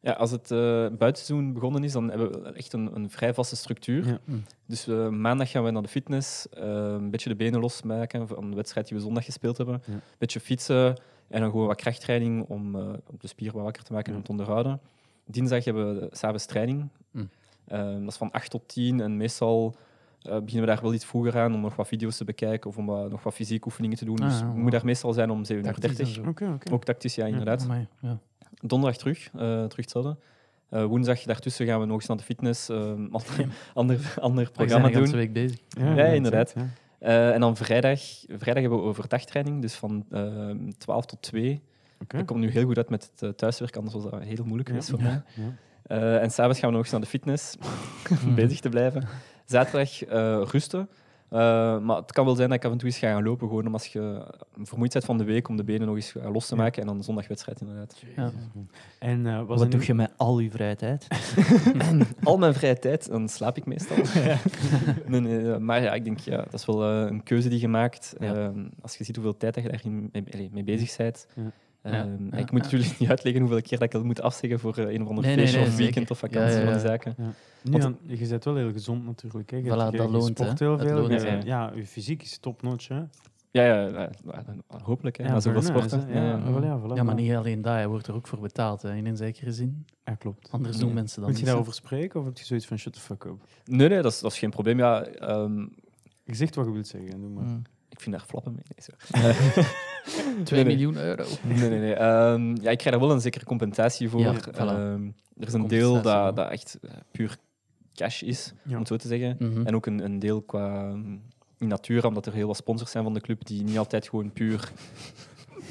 S3: Ja, als het eh, buitenseizoen begonnen is, dan hebben we echt een, een vrij vaste structuur.
S4: Ja.
S5: Hm.
S3: Dus eh, maandag gaan we naar de fitness, eh, een beetje de benen losmaken van de wedstrijd die we zondag gespeeld hebben.
S4: Ja.
S3: Een beetje fietsen en dan gewoon wat krachttraining om, eh, om de spier wat wakker te maken en
S4: Ja.
S3: om te onderhouden. Dinsdag hebben we s'avonds training.
S5: Hm.
S3: Eh, dat is van 8 tot 10 en meestal eh, beginnen we daar wel iets vroeger aan om nog wat video's te bekijken of om wat- nog wat fysieke oefeningen te doen.
S5: Ah,
S3: dus
S5: ja,
S3: we
S5: wow.
S3: moeten daar meestal zijn om 7.30 uur.
S5: Tactisch en zo.
S4: Oké, oké.
S3: Ook tactisch, ja, inderdaad.
S5: Amai, ja.
S3: Donderdag terug, eh, terug hetzelfde. Eh, woensdag daartussen gaan we nog eens naar de fitness, eh, ander, ander, ander
S5: We zijn
S3: programma
S5: de
S3: doen.
S5: hele week bezig.
S3: Ja, inderdaad. Eh, en dan vrijdag, vrijdag hebben we overdagtraining, dus van eh, 12 tot 2.
S4: Oké.
S3: Ik kom nu heel goed uit met het eh, thuiswerk, anders was dat heel moeilijk
S4: Ja.
S3: geweest voor
S5: Ja.
S3: mij.
S4: Ja. Hmm.
S3: Eh, en s'avonds gaan we nog eens naar de fitness, om bezig te blijven. Zaterdag eh, rusten. Eh, maar het kan wel zijn dat ik af en toe eens ga gaan lopen, gewoon om als je vermoeid bent van de week, om de benen nog eens eh, los te
S4: Ja.
S3: maken. En dan zondagwedstrijd inderdaad.
S5: Ja.
S4: En eh, was
S6: Wat
S4: dat
S6: doe
S4: niet-
S6: je met al je vrije tijd?
S3: al mijn vrije tijd, dan slaap ik meestal. nee, nee, eh, maar ja, ik denk, ja, dat is wel eh, een keuze die je maakt.
S6: Ja.
S3: Ehm, als je ziet hoeveel tijd dat je daarin mee, allee, mee bezig bent.
S4: Ja.
S3: Ehm,
S5: Ja.
S3: en Ik
S5: Ja.
S3: moet jullie niet uitleggen hoeveel keer dat ik dat moet afzeggen voor eh, een of ander
S5: Nee, nee,
S3: feestje
S5: nee,
S3: of weekend
S5: zeker.
S3: of vakantie
S5: Ja, ja,
S3: van die
S5: ja.
S3: zaken.
S4: Nu,
S3: Want-
S4: dan- je bent wel heel gezond natuurlijk. Hè. Je,
S5: Voilà,
S4: hebt- je-
S5: dat
S4: je
S5: loont,
S4: sport
S5: hè.
S4: heel
S5: Dat
S4: veel.
S5: loont,
S4: je-
S3: ja.
S4: ja, je fysiek is topnotch. Hè.
S3: Ja, ja, ja, ja, hopelijk. Hè, na zoveel
S4: burn-out, hè.
S3: sporten.
S4: Ja,
S3: Ja, ja.
S4: voilà, ja, voilà.
S5: Ja, maar niet alleen daar. Hij wordt er ook voor betaald, hè, in een zekere zin.
S4: Ja, klopt.
S5: Anders
S3: Ja.
S5: doen mensen dan
S4: Moet je
S3: nou
S5: niet, hè.
S4: daarover spreken of heb je zoiets van shut the fuck up?
S3: Nee, nee, dat is, dat is geen probleem. Ja, ehm,
S4: Je zegt wat je wilt zeggen. Doe maar.
S6: Mm.
S3: ik Ik vind daar flappen mee. Nee, zo.
S5: 2
S3: Nee,
S5: miljoen euro.
S3: Nee, nee, nee. Ehm, ja, ik krijg daar wel een zekere compensatie voor.
S5: Ja, voilà.
S3: Ehm, er is een deel
S5: Compensatie, ja.
S3: dat, dat echt eh, puur cash is,
S4: Ja.
S3: om het zo te zeggen.
S5: Mhm.
S3: En ook een, een deel qua ehm, in natura, omdat er heel wat sponsors zijn van de club die niet altijd gewoon puur...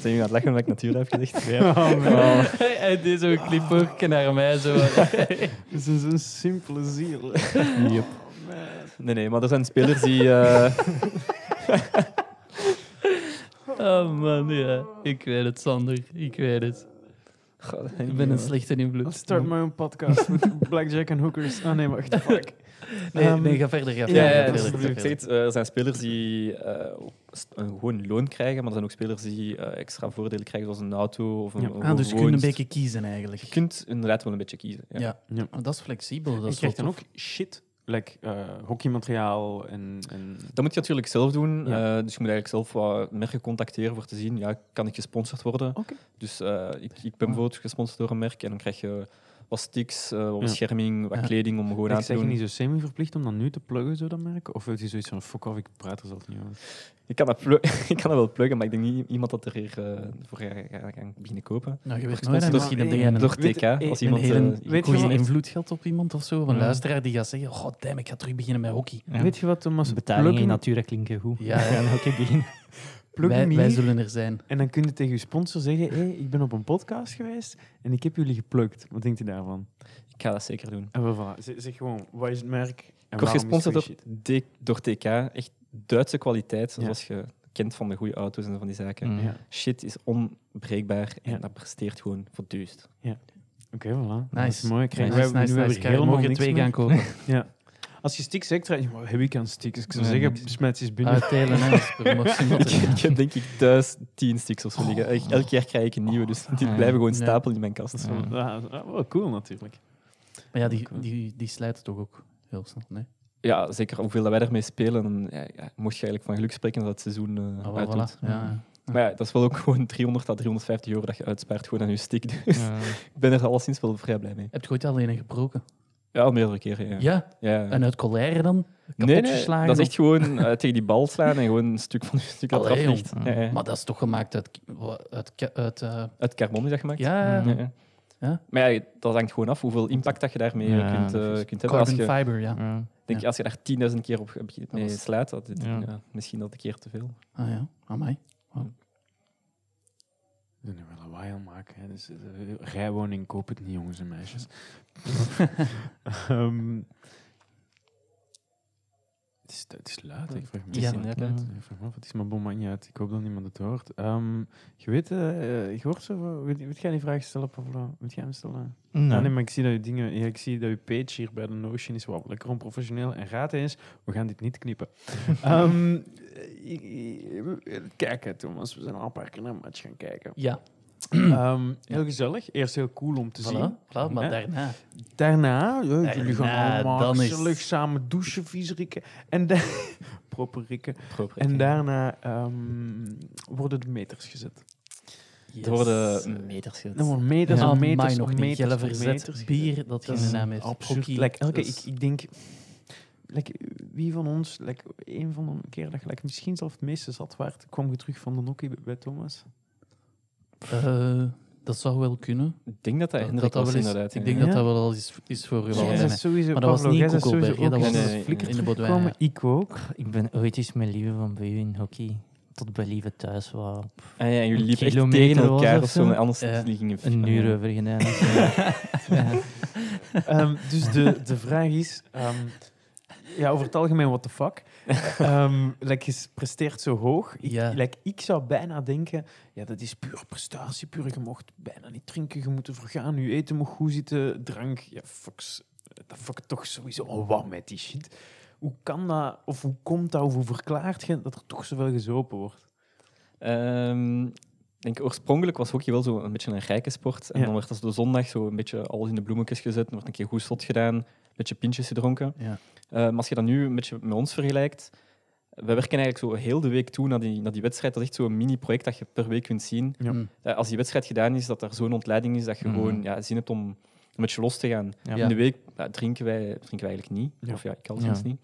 S3: Zijn jullie aan het lachen omdat ik natura heb gezegd?
S5: Oh. Hij deed zo'n
S4: Ah.
S5: knipoogje naar mij. Zo.
S4: Het is een simpele ziel.
S3: Yep. Nee, nee, maar er zijn spelers die... eh,
S5: Oh man, ja. Ik weet het, Sander. Ik weet het.
S3: Goh,
S5: Ik ben een slechte invloed.
S4: Let's start my own podcast met Blackjack en Hookers. Ah nee, wacht. Fuck.
S5: Nee, um,
S4: Ehm,
S5: nee, ga verder. Ga verder,
S3: Ja,
S5: ga
S3: ja,
S5: verder,
S3: dus
S5: ga
S3: ik
S5: verder.
S3: zeg het, eh, er zijn spelers die eh, st- een gewoon loon krijgen, maar er zijn ook spelers die eh, extra voordelen krijgen, zoals een auto of een,
S4: Ja.
S3: of
S5: Ah, dus je kunt
S3: woonst.
S5: een beetje kiezen eigenlijk.
S3: Je kunt inderdaad wel een beetje kiezen. Ja.
S5: ja.
S4: Ja.
S5: Oh, dat is flexibel. Dat
S4: Je
S5: is wel
S4: krijgt dan ook shit. Like eh, hockeymateriaal en... en...
S3: Dat moet je natuurlijk zelf doen.
S4: Ja.
S3: eh, dus je moet eigenlijk zelf wat merken contacteren voor te zien, ja, kan ik gesponsord worden?
S4: Oké. Ah.
S3: Dus eh, ik, ik ben bijvoorbeeld gesponsord door een merk en dan krijg je wat sticks, eh,
S4: Ja.
S3: wat bescherming, wat
S5: Ja.
S3: kleding om gewoon
S4: Ik
S3: aan te
S4: zeg je
S3: doen.
S4: niet zo semi-verplicht om dat nu te pluggen, zo dat merken? Of heeft hij zoiets van, fuck off, ik praat er zelf niet over.
S3: Ik kan, dat plu- ik kan dat wel pluggen, maar ik denk niet iemand dat er hier eh, voor gaat gaat- gaat beginnen kopen.
S5: tof. Nou, je weet nooit,
S3: Gesponsord
S5: hè,
S3: door-
S5: misschien heb
S4: eh,
S5: jij een
S3: Door
S4: Weet-
S3: TK,
S4: eh,
S3: als
S5: een
S3: iemand...
S5: hele
S3: eh,
S4: weet je
S5: goede
S4: wat-
S5: invloed gehad op iemand of zo. Of een
S4: Ja.
S5: luisteraar die gaat zeggen: God damn, ik ga terug beginnen met hockey.
S6: Ja.
S4: Weet je wat, Thomas?
S6: Betalingen in
S4: Plug
S6: natura klinken goed.
S5: Ja, ja.
S6: ja. dan ook ik beginnen.
S4: plug
S5: wij,
S4: hem
S5: wij
S4: hier.
S5: zullen er zijn.
S4: En dan kun je tegen je sponsor zeggen, hé, hey, ik ben op een podcast geweest en ik heb jullie geplukt. Wat denkt hij daarvan?
S3: Ik ga dat zeker doen.
S4: En Ah, wel, voilà. Zeg, zeg gewoon, wat is het merk? En
S3: Ik word
S4: waarom is het
S3: gesponsord door,
S4: goeie shit?
S3: D- door TK. Echt Duitse kwaliteit,
S4: Ja.
S3: zoals je kent van de goede auto's en van die zaken.
S6: Mm.
S4: Ja.
S3: Shit is onbreekbaar en
S4: Ja.
S3: dat presteert gewoon voor duist.
S4: Oké, voilà. Dat is
S5: Nice.
S4: mooi. Krijgen
S5: Nice,
S4: wij
S5: nice,
S4: nu
S5: nice.
S4: weer
S5: Karel,
S4: helemaal
S5: mogen
S4: niks
S5: twee
S4: meer.
S5: gaan kopen.
S4: Ja. Als je stiks zegt, krijg je, "Maar heb ik aan stiks? Ik zou
S6: Nee,
S4: zeggen,
S6: niks.
S4: smijt ze eens binnen.
S5: Uitdelen, hè. dat is per maximaal.
S3: Ik, ik heb denk ik thuis tien sticks of zo liggen. Echt, Elk jaar krijg ik een nieuwe, dus die
S6: Ja.
S3: blijven gewoon
S5: Ah, Ja.
S3: stapelen in mijn kast.
S6: Ja.
S4: Ja, dat is wel cool natuurlijk.
S5: Maar ja, die, die, die slijten toch ook heel snel. Nee?
S3: Ja, zeker hoeveel dat wij daarmee spelen. dan, Ja, ja, mocht je eigenlijk van geluk spreken dat het seizoen eh
S5: Ah, wel,
S3: uitdoet.
S5: voilà. ja.
S3: Maar ja, dat is wel ook gewoon 300 à 350 euro dat je uitspaart gewoon aan je stick. Dus
S6: Ja.
S3: ik ben er alleszins wel vrij blij mee.
S5: Heb je ooit alleen een gebroken?
S3: Ja, al meerdere keren. Ja.
S5: Ja.
S3: Ja.
S5: En uit colère dan? Kapot
S3: Nee, nee,
S5: geslagen?
S3: dat is
S5: of-
S3: echt gewoon eh, tegen die bal slaan en gewoon een stuk van je stuk dat
S5: Allee,
S3: eraf ligt.
S6: jong.
S3: Ja, ja.
S5: Maar dat is toch gemaakt uit... ki- wa- uit, ki- uit eh,
S3: Uit carbon is dat gemaakt.
S5: ja,
S3: Ja, ja.
S5: Ja.
S3: Maar ja, dat hangt gewoon af hoeveel impact dat je daarmee eh,
S6: Ja,
S3: kunt,
S6: dat
S3: eh,
S6: is-
S3: kunt hebben. Als
S5: carbon
S3: je,
S5: fiber, ja.
S6: Ja.
S3: denk,
S5: ja.
S3: als je daar 10.000 keer op begint mee
S5: was-
S3: slaat, dat dit-
S6: Ja.
S3: ja, misschien dat een keer te veel.
S5: Ah ja, amai.
S4: Nu wel lawaai aan maken. Hè. Dus, eh, rijwoning, koop het niet, jongens en meisjes. Ehm, het, is, het is luid, ik vraag me
S3: Het is
S4: af.
S3: Dus inderdaad
S6: Ja.
S3: luid.
S4: Ik vraag me af, het is mijn bom maakt niet uit. Ik hoop dat niemand het hoort. Ehm, je weet, eh, eh, je hoort zo... van- Weet, weet jij die vraag stellen, Pavlo? Weet jij hem stellen? Ah, nee, maar ik zie dat je dingen... ja, ik zie dat je page hier bij de Notion is wel lekker onprofessioneel. En raad eens, we gaan dit niet knippen. Ehm, ik- ik- kijk, hè, Thomas, we zijn al een paar keer naar een match gaan kijken.
S5: Ja,
S4: Ehm, heel gezellig. Eerst heel cool om te zien.
S5: Hm. voilà. Klaar, maar
S4: Ja.
S5: daarna...
S4: Daarna, ja, jullie gaan
S5: Daarna,
S4: allemaal
S5: dan is-
S4: gezellig samen douchen, vies rikken. En da- proper rikken.
S3: Proper.
S4: En daarna ehm, worden de meters gezet.
S5: Yes.
S3: Er worden meters gezet.
S4: Dan worden meters
S5: Ja,
S4: en
S5: amai,
S4: meters
S5: nog
S4: en
S5: niet.
S4: meters
S5: Jelle
S4: en
S5: verzet
S4: meters
S5: bier dat geen
S4: is
S5: naam heeft.
S4: Absurd.
S5: Hockey,
S4: Like, elke,
S5: dat is-
S4: ik, ik denk, like, wie van ons, like, een van de keer dat je like, misschien zelf het meeste zat waard, kwam je terug van de nokkie bij- bij Thomas?
S5: Eh, dat zou wel kunnen.
S3: Ik denk dat dat
S5: Dat,
S3: Hendrik
S5: dat,
S3: was,
S5: wel eens,
S3: inderdaad.
S5: ik denk
S3: ja.
S5: dat dat wel al is, is voor u
S4: Jij
S5: wel.
S4: bent sowieso,
S5: Maar dat was
S4: Pavlo,
S5: niet
S4: jij
S5: in
S4: bent
S5: Koekelberg,
S4: sowieso
S5: hè,
S4: ook
S5: dat
S4: als
S3: was
S4: een
S3: in-
S4: flikker
S5: in de Baudouin,
S4: teruggekomen. Ik ook.
S6: Ik ben ooit eens met Lieve van bij u in hockey tot bij Lieve thuis was.
S3: Ah, ja, en jullie
S6: Een
S3: liepen echt
S6: kilometer
S3: tegen
S6: was
S3: elkaar
S6: of
S3: of zo,
S6: zo.
S3: en anders
S5: Ja.
S3: die gingen
S6: Een uur over gedaan. Ja.
S4: Ehm, dus de, de vraag is... ehm, ja, over het algemeen, what the fuck. Ehm like, je presteert zo hoog. Ik,
S5: Ja.
S4: like, ik zou bijna denken... Ja, dat is puur prestatie, puur. Je mocht bijna niet drinken, je moet ervoor gaan. Je eten moet goed zitten, drank... Ja, fucks. Dat fuck toch sowieso al wat met die shit. Hoe kan dat, of hoe komt dat, of hoe verklaart je dat er toch zoveel gezopen wordt?
S3: Ehm, ik denk, oorspronkelijk was hockey wel zo een beetje een rijke sport. En
S4: Ja.
S3: dan werd als de zondag zo een beetje alles in de bloemetjes gezet. Dan werd een keer goed slot gedaan, een beetje pintjes gedronken.
S5: Ja.
S3: Eh, maar als je dat nu een beetje met ons vergelijkt, we werken eigenlijk zo heel de week toe naar die, naar die wedstrijd. Dat is echt zo'n mini-project dat je per week kunt zien.
S4: Ja.
S5: Mm.
S3: Eh, als die wedstrijd gedaan is, dat er zo'n ontleiding is dat je
S6: Mhm.
S3: gewoon ja, zin hebt om een beetje los te gaan.
S6: Ja.
S3: In de week ja, drinken, wij, drinken wij eigenlijk niet.
S4: Ja.
S3: Of ja, ik
S6: Ja.
S3: althans niet.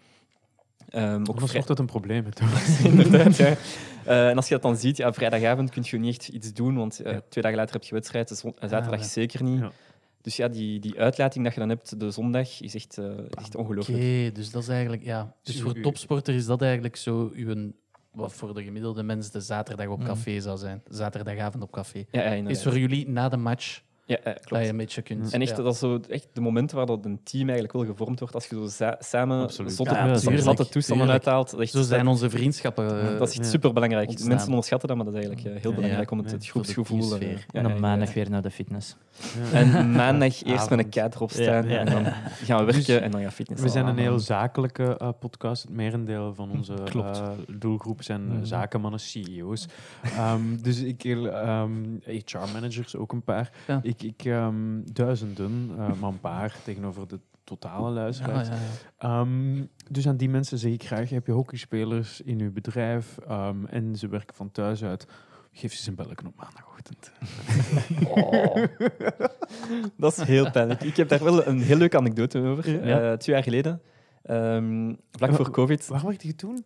S3: Eh, Ehm, ook
S4: Anders
S3: vrij-
S4: wordt het een probleem. hè, toch?
S3: inderdaad. Ja. Eh, en als je dat dan ziet, ja, vrijdagavond kun je niet echt iets doen, want eh, twee dagen later heb je wedstrijd, dus zon- en zaterdag
S5: Ah, ja.
S3: zeker niet.
S4: Ja.
S3: Dus ja, die, die uitlating dat je dan hebt de zondag is echt, eh, is echt
S5: Oké,
S3: ongelooflijk.
S5: dus dat is eigenlijk, ja. Dus
S4: uw-
S5: voor
S4: uw-
S5: topsporter is dat eigenlijk zo uw, wat voor de gemiddelde mens de zaterdag op
S6: Mm.
S5: café zou zijn. Zaterdagavond op café.
S3: Ja, ja, inderdaad.
S5: Is voor jullie na de match
S3: ja, ja, klopt.
S5: dat je een beetje kunt.
S3: En echt,
S5: ja.
S3: dat is zo, echt de momenten waar dat een team eigenlijk wel gevormd wordt, als je zo za- samen
S4: Absoluut.
S3: zotte,
S5: Ja,
S3: zotte-
S5: tuurlijk,
S3: zotte toestanden
S5: tuurlijk.
S3: uithaalt. Dat is echt-
S5: Zo zijn onze vriendschappen. eh,
S3: dat is echt
S4: Ja.
S3: superbelangrijk.
S5: ontstaan.
S3: Mensen onderschatten dat, maar dat is eigenlijk eh, heel
S5: Ja,
S3: belangrijk om het,
S4: nee,
S3: het
S5: voor de
S3: groepsgevoel... eh,
S5: teamsfeer.
S3: ja,
S6: En
S3: ja,
S6: op maandag
S3: ja.
S6: weer naar de fitness.
S4: Ja.
S3: En maandag eerst met een
S5: Avond. Dus
S3: kaart erop staan
S6: Ja, ja.
S3: en dan gaan we werken en dan gaan fitness.
S4: We zijn een
S3: allemaal.
S4: heel zakelijke eh, podcast. Het merendeel van onze
S6: Klopt.
S4: eh, doelgroep zijn eh,
S6: Mhm.
S4: zakenmannen, CEO's. Ehm, dus ik heel, ehm, HR-managers ook een paar.
S5: Ja.
S4: Ik, ik ehm, duizenden, eh, maar een paar tegenover de totale
S5: ja,
S4: luisteraars.
S5: ja, Ah, ja.
S4: Ehm, dus aan die mensen zeg ik graag: heb je hockeyspelers in uw bedrijf ehm, en ze werken van thuis uit? Geef ze een belletje op maandagochtend.
S3: Oh. Dat is heel pijnlijk. Ik heb daar wel een heel leuke anekdote over.
S6: Ja.
S3: Eh, twee jaar geleden, ehm, vlak voor COVID.
S4: Waar werkte je toen?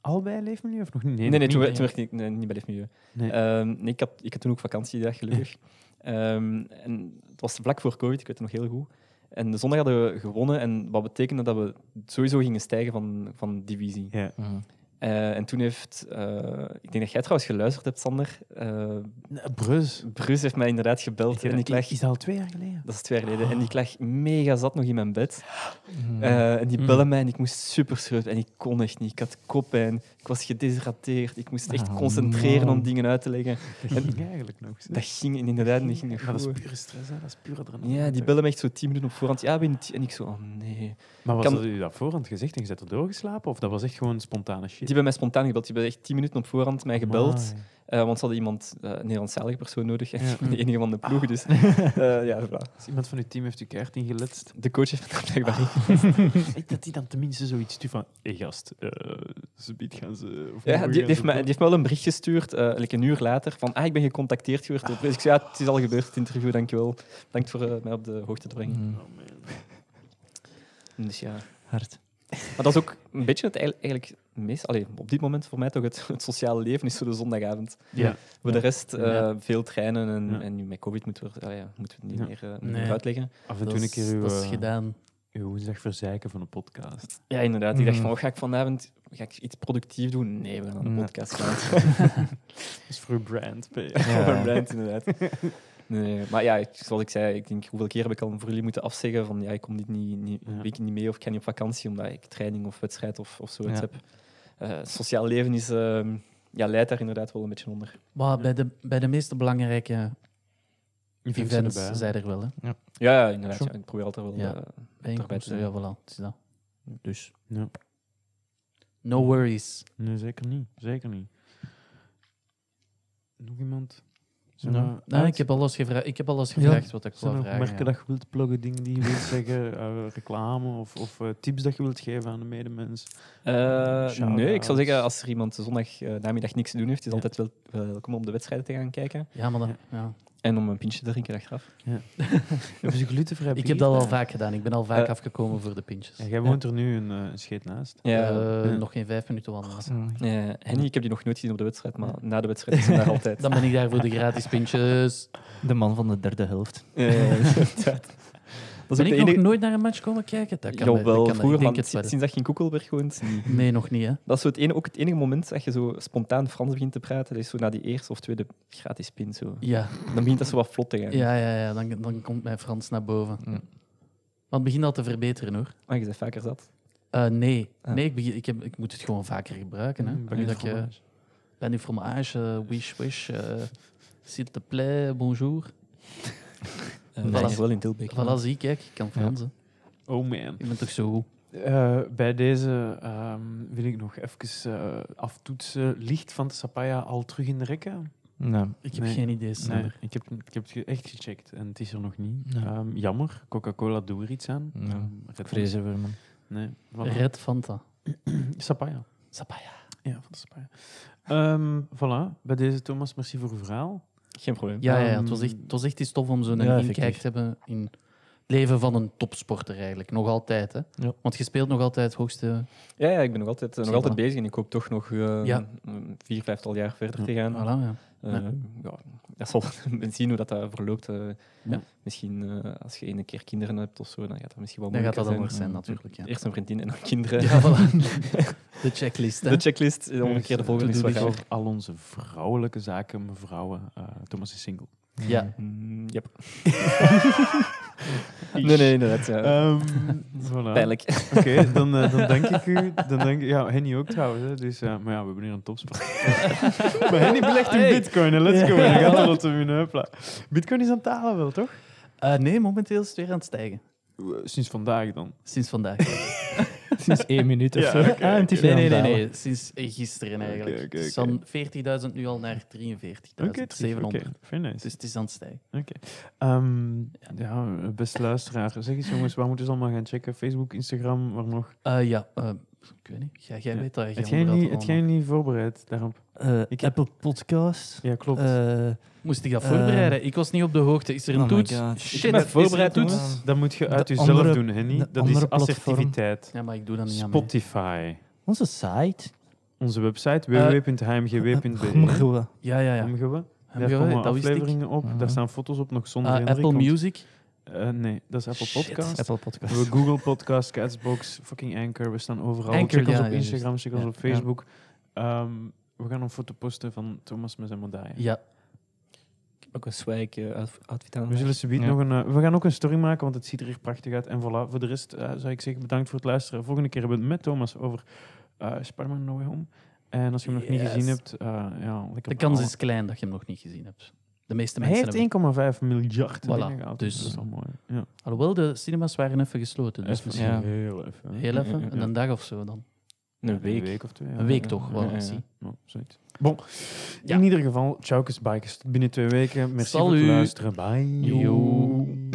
S4: Al bij Leefmilieu of nog niet?
S3: Nee, nee,
S4: nog
S3: toen,
S4: niet.
S3: toen werkte ik nee, niet bij Leefmilieu.
S4: Nee.
S3: Ehm, nee, ik, had, ik had toen ook vakantie, ja, gelukkig. Ehm, en het was vlak voor COVID, ik weet het nog heel goed. En de zondag hadden we gewonnen. En wat betekende dat we sowieso gingen stijgen van, van divisie.
S4: Ja.
S6: Mm.
S3: Eh, en toen heeft... eh, ik denk dat jij trouwens geluisterd hebt, Sander. Eh
S4: Nee, Brus.
S3: Bruce heeft mij inderdaad gebeld.
S4: eh,
S3: en ik lag,
S4: Is dat al twee jaar geleden?
S3: dat is twee jaar geleden. En ik lag mega zat nog in mijn bed. Eh, en die
S6: Mm.
S3: bellen mij en ik moest super schreeuwen. En ik kon echt niet. Ik had koppijn. Ik was gedeshydrateerd. Ik moest echt
S6: Ah,
S3: concentreren om
S6: man.
S3: dingen uit te leggen.
S4: Dat ging eigenlijk nog.
S3: Dat ging inderdaad niet. Ging niet
S4: Maar dat
S3: goed.
S4: is pure stress, hè? dat is pure adrenaline.
S3: Ja, die bellen me echt zo tien minuten op voorhand. Ja, ben je niet? En ik zo, oh nee.
S4: Maar was
S3: Kan-
S4: dat u dat voorhand gezegd en je bent er doorgeslapen? Of dat was echt gewoon spontane shit?
S3: Die hebben mij spontaan gebeld. Die hebben echt tien minuten op voorhand mij gebeld.
S4: Amai.
S3: eh, want ze hadden iemand, eh, een Nederlandstalige persoon nodig. En
S4: Ja.
S3: ik ben de enige van de ploeg. Dus eh, ja, voilà.
S4: Dus iemand van uw team heeft uw kaart ingeletst.
S3: De coach heeft me blijkbaar niet.
S4: Ik dat die dan tenminste zoiets stuurt van... Hé gast, eh, ze biedt gaan ze... of
S3: Ja,
S4: morgen
S3: die,
S4: gaan
S3: die,
S4: ze
S3: heeft mij,
S4: door."
S3: die heeft mij wel een bericht gestuurd, eh, like een uur later, van ah, ik ben gecontacteerd geweest. Dus ik zei, ja, het is al gebeurd, het interview, dankjewel. Dank voor eh, mij op de hoogte te brengen.
S6: Mm.
S4: Oh, man.
S3: Dus ja.
S6: Hard.
S3: Maar dat is ook een beetje het eigenlijk, eigenlijk meest, allee, op dit moment voor mij toch het, het sociale leven is zo de zondagavond.
S4: Ja.
S3: Voor de rest eh,
S5: Ja.
S3: veel treinen en,
S4: Ja.
S3: en nu met COVID moeten we, allee, ja, moeten we het
S4: Ja.
S3: niet meer, eh, niet
S5: Nee.
S3: meer uitleggen.
S4: Af en
S5: Dat
S4: toe een
S5: is-
S4: keer uw,
S5: dat is
S4: eh,
S5: gedaan.
S4: uw woensdag verzeiken van een podcast.
S3: Ja, inderdaad. Ik dacht
S6: Mm.
S3: van, oh, ga ik vanavond ga ik iets productief doen? Nee, we gaan een
S6: Nee.
S3: podcast gaan.
S4: Dat is voor uw brand. P.
S3: Voor een brand, inderdaad. Nee, maar ja, ik- zoals ik zei, ik denk hoeveel keer heb ik al voor jullie moeten afzeggen van ja, ik kom dit niet, niet,
S4: Ja.
S3: week niet mee of ik ga niet op vakantie omdat ik training of wedstrijd of, of zoiets
S6: Ja.
S3: heb. Eh, sociaal leven is, ehm, ja, leidt daar inderdaad wel een beetje onder.
S5: Maar bij de, bij de meeste belangrijke
S4: Events
S5: events
S4: erbij.
S5: zijn er wel. Hè.
S3: Ja, ja, inderdaad.
S4: Sure.
S3: ja, ik probeer altijd wel.
S5: Ja.
S3: eh,
S5: Bijeenkomsten,
S3: zijn.
S5: ja, voilà. Het is dat. Dus.
S4: Ja.
S5: No worries.
S4: Nee, zeker niet. Zeker niet. Nog iemand? Ah, Zijn
S6: Nee.
S4: er
S5: Nou,
S4: uit?
S5: ik heb alles gevraagd, ik heb alles
S4: Ja.
S5: gevraagd wat ik
S4: Zijn er nog
S5: wou vragen.
S4: merken
S5: ja.
S4: dat je wilt pluggen, dingen die je wilt zeggen, eh, reclame of, of eh, tips dat je wilt geven aan de medemens?
S3: Eh,
S4: Shout-outs.
S3: nee, ik zou zeggen, als er iemand zondag eh, namiddag niks te doen heeft, is
S4: Ja.
S3: altijd wel wel welkom om de wedstrijden te gaan kijken
S5: Ja, maar dan, ja.
S3: en om een pintje te drinken achteraf.
S4: Hebben ze glutenvrij
S5: Ik heb dat al vaak gedaan. Ik ben al vaak
S3: Eh.
S5: afgekomen voor de pintjes.
S4: jij woont er nu een, eh, een scheet naast.
S3: Ja.
S5: Eh,
S4: Ja.
S5: Nog geen vijf minuten wandelen.
S3: Eh, Henny, ik heb die nog nooit gezien op de wedstrijd, maar na de wedstrijd is hij daar altijd.
S5: Dan ben ik daar voor de gratis pintjes.
S6: De man van de derde helft.
S3: Eh, inderdaad. Dat is
S5: ben
S3: ook
S5: ik
S3: de enige...
S5: nog nooit naar een match komen kijken? Dat kan, dat kan,
S3: Jawel, vroeger,
S5: ik denk
S3: want
S5: het wel.
S3: sinds dat je in Koekelberg woont.
S5: Nee, nog niet, hè?
S3: Dat is zo het ene, ook het enige moment dat je zo spontaan Frans begint te praten. Dat is zo na die eerste of tweede gratis pin. Zo.
S5: Ja,
S3: Dan begint dat zo wat vlot te gaan.
S5: ja, ja, ja dan, dan komt mijn Frans naar boven.
S6: Ja.
S5: Want het begint al te verbeteren, hoor.
S3: Maar je bent vaker zat.
S5: Eh, nee,
S3: Ah.
S5: nee ik, begin, ik, heb, ik moet het gewoon vaker gebruiken. Hè.
S4: Mm,
S5: nu
S4: baguette
S5: dat eh, je,
S4: fromage.
S5: ben nu fromage, eh, wish, wish, eh, s'il te plaît, bonjour.
S3: Eh,
S5: Voilà.
S3: Dat is wel in Tilbeek.
S5: Voilà, zie, kijk, ik kan Frans. hè.
S4: Oh man.
S5: Ik ben toch zo goed.
S4: Eh, bij deze ehm, wil ik nog even eh, aftoetsen. Ligt van de Sapaya al terug in de rekken?
S6: Nou,
S5: Ik heb
S4: Nee.
S5: geen idee, Sander.
S4: Nee, ik heb, ik heb het ge- echt gecheckt en het is er nog niet.
S6: Nee.
S4: Ehm, jammer, Coca-Cola doet er iets aan.
S6: Ja.
S4: Ehm, Red Bull.
S6: ik vrees ervoor, man.
S4: Nee, voilà.
S5: Red Fanta.
S4: Sapaya.
S5: Sapaya.
S4: Ja, van de Sapaya. Ehm, voilà, bij deze Thomas, merci voor uw verhaal.
S3: Geen probleem.
S5: Ja, ja, ja,
S4: Ehm,
S5: het, was echt, het was echt iets tof om zo'n
S6: ja,
S5: inkijk
S6: effectief.
S5: te hebben in leven van een topsporter eigenlijk. Nog altijd, hè?
S6: Ja.
S5: Want je speelt nog altijd het hoogste...
S3: Ja, ja, ik ben nog altijd, eh, nog
S5: Zie,
S3: altijd
S5: voilà.
S3: bezig en ik hoop toch nog eh,
S5: Ja.
S3: een vier, vijftal jaar verder te
S5: Voilà,
S3: gaan.
S5: ja.
S3: Eh,
S5: Ja.
S3: ja, dat zal men zien hoe dat, daar verloopt. eh.
S5: Ja.
S3: Misschien eh, als je ene keer kinderen hebt of zo, dan gaat dat misschien wel
S5: Dan gaat
S3: moeilijker
S5: dat anders zijn,
S3: zijn.
S5: natuurlijk. Ja.
S3: Eerst een vriendin en dan kinderen.
S5: Ja, voilà. De checklist, hè?
S3: De checklist, eh, omgekeerde volgende is wat
S4: Doe
S3: gaan.
S4: dit voor al onze vrouwelijke zaken, mevrouwen. eh, Thomas is single.
S5: Ja.
S3: Mm, yep. nee, nee, inderdaad. Ja.
S4: Ehm, voilà.
S3: Pijnlijk.
S4: Oké, dan, eh, dan denk ik u. Dan denk ik, ja, Henny ook trouwens. Hè, dus, eh, maar ja, we hebben hier een topspot. maar Henny belegt in Bitcoin. Hè, let's go. Dan gaat dat wat te winnen. Hopla. Bitcoin is aan het dalen wel, toch?
S5: Eh, nee, momenteel is het weer aan het stijgen.
S4: Eh, Sinds vandaag dan.
S5: Sinds vandaag.
S6: Sinds één minuut of
S4: Ja,
S6: zo.
S4: oké,
S6: ah, en het is
S5: Nee,
S6: weer
S5: nee, nee,
S6: aan het
S5: nee. Sinds eh, gisteren eigenlijk.
S4: Oké, oké,
S5: Het is
S4: oké.
S5: van 40.000 nu al naar 43.000.
S4: Oké, het is-
S5: 700.
S4: oké, very nice.
S5: Dus het is aan het stijgen.
S4: Ehm, ja, beste luisteraar. Zeg eens jongens, waar moeten ze allemaal gaan checken? Facebook, Instagram, waar nog?
S5: Eh, ja, eh, ik weet niet. Jij, jij
S4: Ja.
S5: weet dat. Jij
S4: Het jij
S5: onderhoudt
S4: niet, het
S5: allemaal.
S4: jij niet voorbereid daarop?
S6: dalen. Eh,
S4: Ik heb-
S6: Apple Podcast.
S4: Ja, klopt.
S6: eh,
S5: Moest ik dat
S6: Eh,
S5: voorbereiden? ik was niet op de hoogte. Is er een
S6: oh my
S5: toets?
S6: God.
S5: Shit,
S3: Ik
S5: is
S3: ben
S5: er een
S3: voorbereid,
S5: toets?
S3: jongens.
S4: dat moet je uit
S6: de
S4: jezelf
S6: andere-
S4: doen, Henny.
S6: de
S4: Dat is
S6: andere platform.
S4: assertiviteit.
S5: Ja, maar ik doe dat niet aan mij.
S4: Spotify.
S6: onze site.
S4: Onze website
S5: Eh,
S4: www.hmgw.be.
S6: Gomgroe.
S5: Ja, ja, ja.
S4: Hmgw.
S5: Heb
S4: Daar
S5: je-
S4: komen
S5: dat wist ik.
S4: afleveringen op.
S6: Mhm.
S4: Daar staan foto's op nog zonder
S5: Ah,
S4: Henrik,
S5: Apple
S4: want-
S5: Music.
S4: Eh, nee, dat is Apple
S5: Shit.
S4: Podcast.
S6: Apple Podcast.
S4: We hebben Google Podcast, Catsbox, fucking Anchor. We staan overal.
S5: Anchor,
S4: check ons
S5: ja,
S4: op
S5: ja,
S4: Instagram, check ons
S5: Ja.
S4: op Facebook. Ehm, we gaan een foto posten van Thomas met zijn medaille.
S5: Ja,
S3: Ook een swag eh, out- outfit aan.
S4: We zullen subiet
S6: Ja.
S4: nog een. eh, we gaan ook een story maken, want het ziet er hier prachtig uit. En voilà. Voor de rest eh, zou ik zeggen bedankt voor het luisteren. Volgende keer hebben we het met Thomas over eh Spider-Man No Way Home. En als je hem nog niet
S5: Yes.
S4: gezien hebt, eh, ja, lekker
S5: de kans
S4: balen.
S5: is klein dat je hem nog niet gezien hebt. De meeste
S4: Hij
S5: mensen
S4: heeft
S5: hebben...
S4: 1,5 miljard
S5: Voilà,
S4: dingen gehaald.
S5: dus-
S4: dat is wel mooi. Ja.
S5: Alhoewel, de cinema's waren even gesloten. Dus
S4: Even
S6: ja.
S4: heel even. hè.
S5: Heel even,
S3: Ja, ja,
S5: een dag of zo dan.
S3: Een week.
S4: of twee. ja.
S5: Een week
S4: Ja,
S5: toch,
S4: ja,
S5: wel,
S4: ja, ja.
S5: zie.
S4: Ja, zoiets. Bon,
S5: Ja.
S4: in ieder geval, ciao bikers. Tot binnen twee weken. Merci voor
S5: Salut.
S4: het luisteren. Bye.
S5: Yo.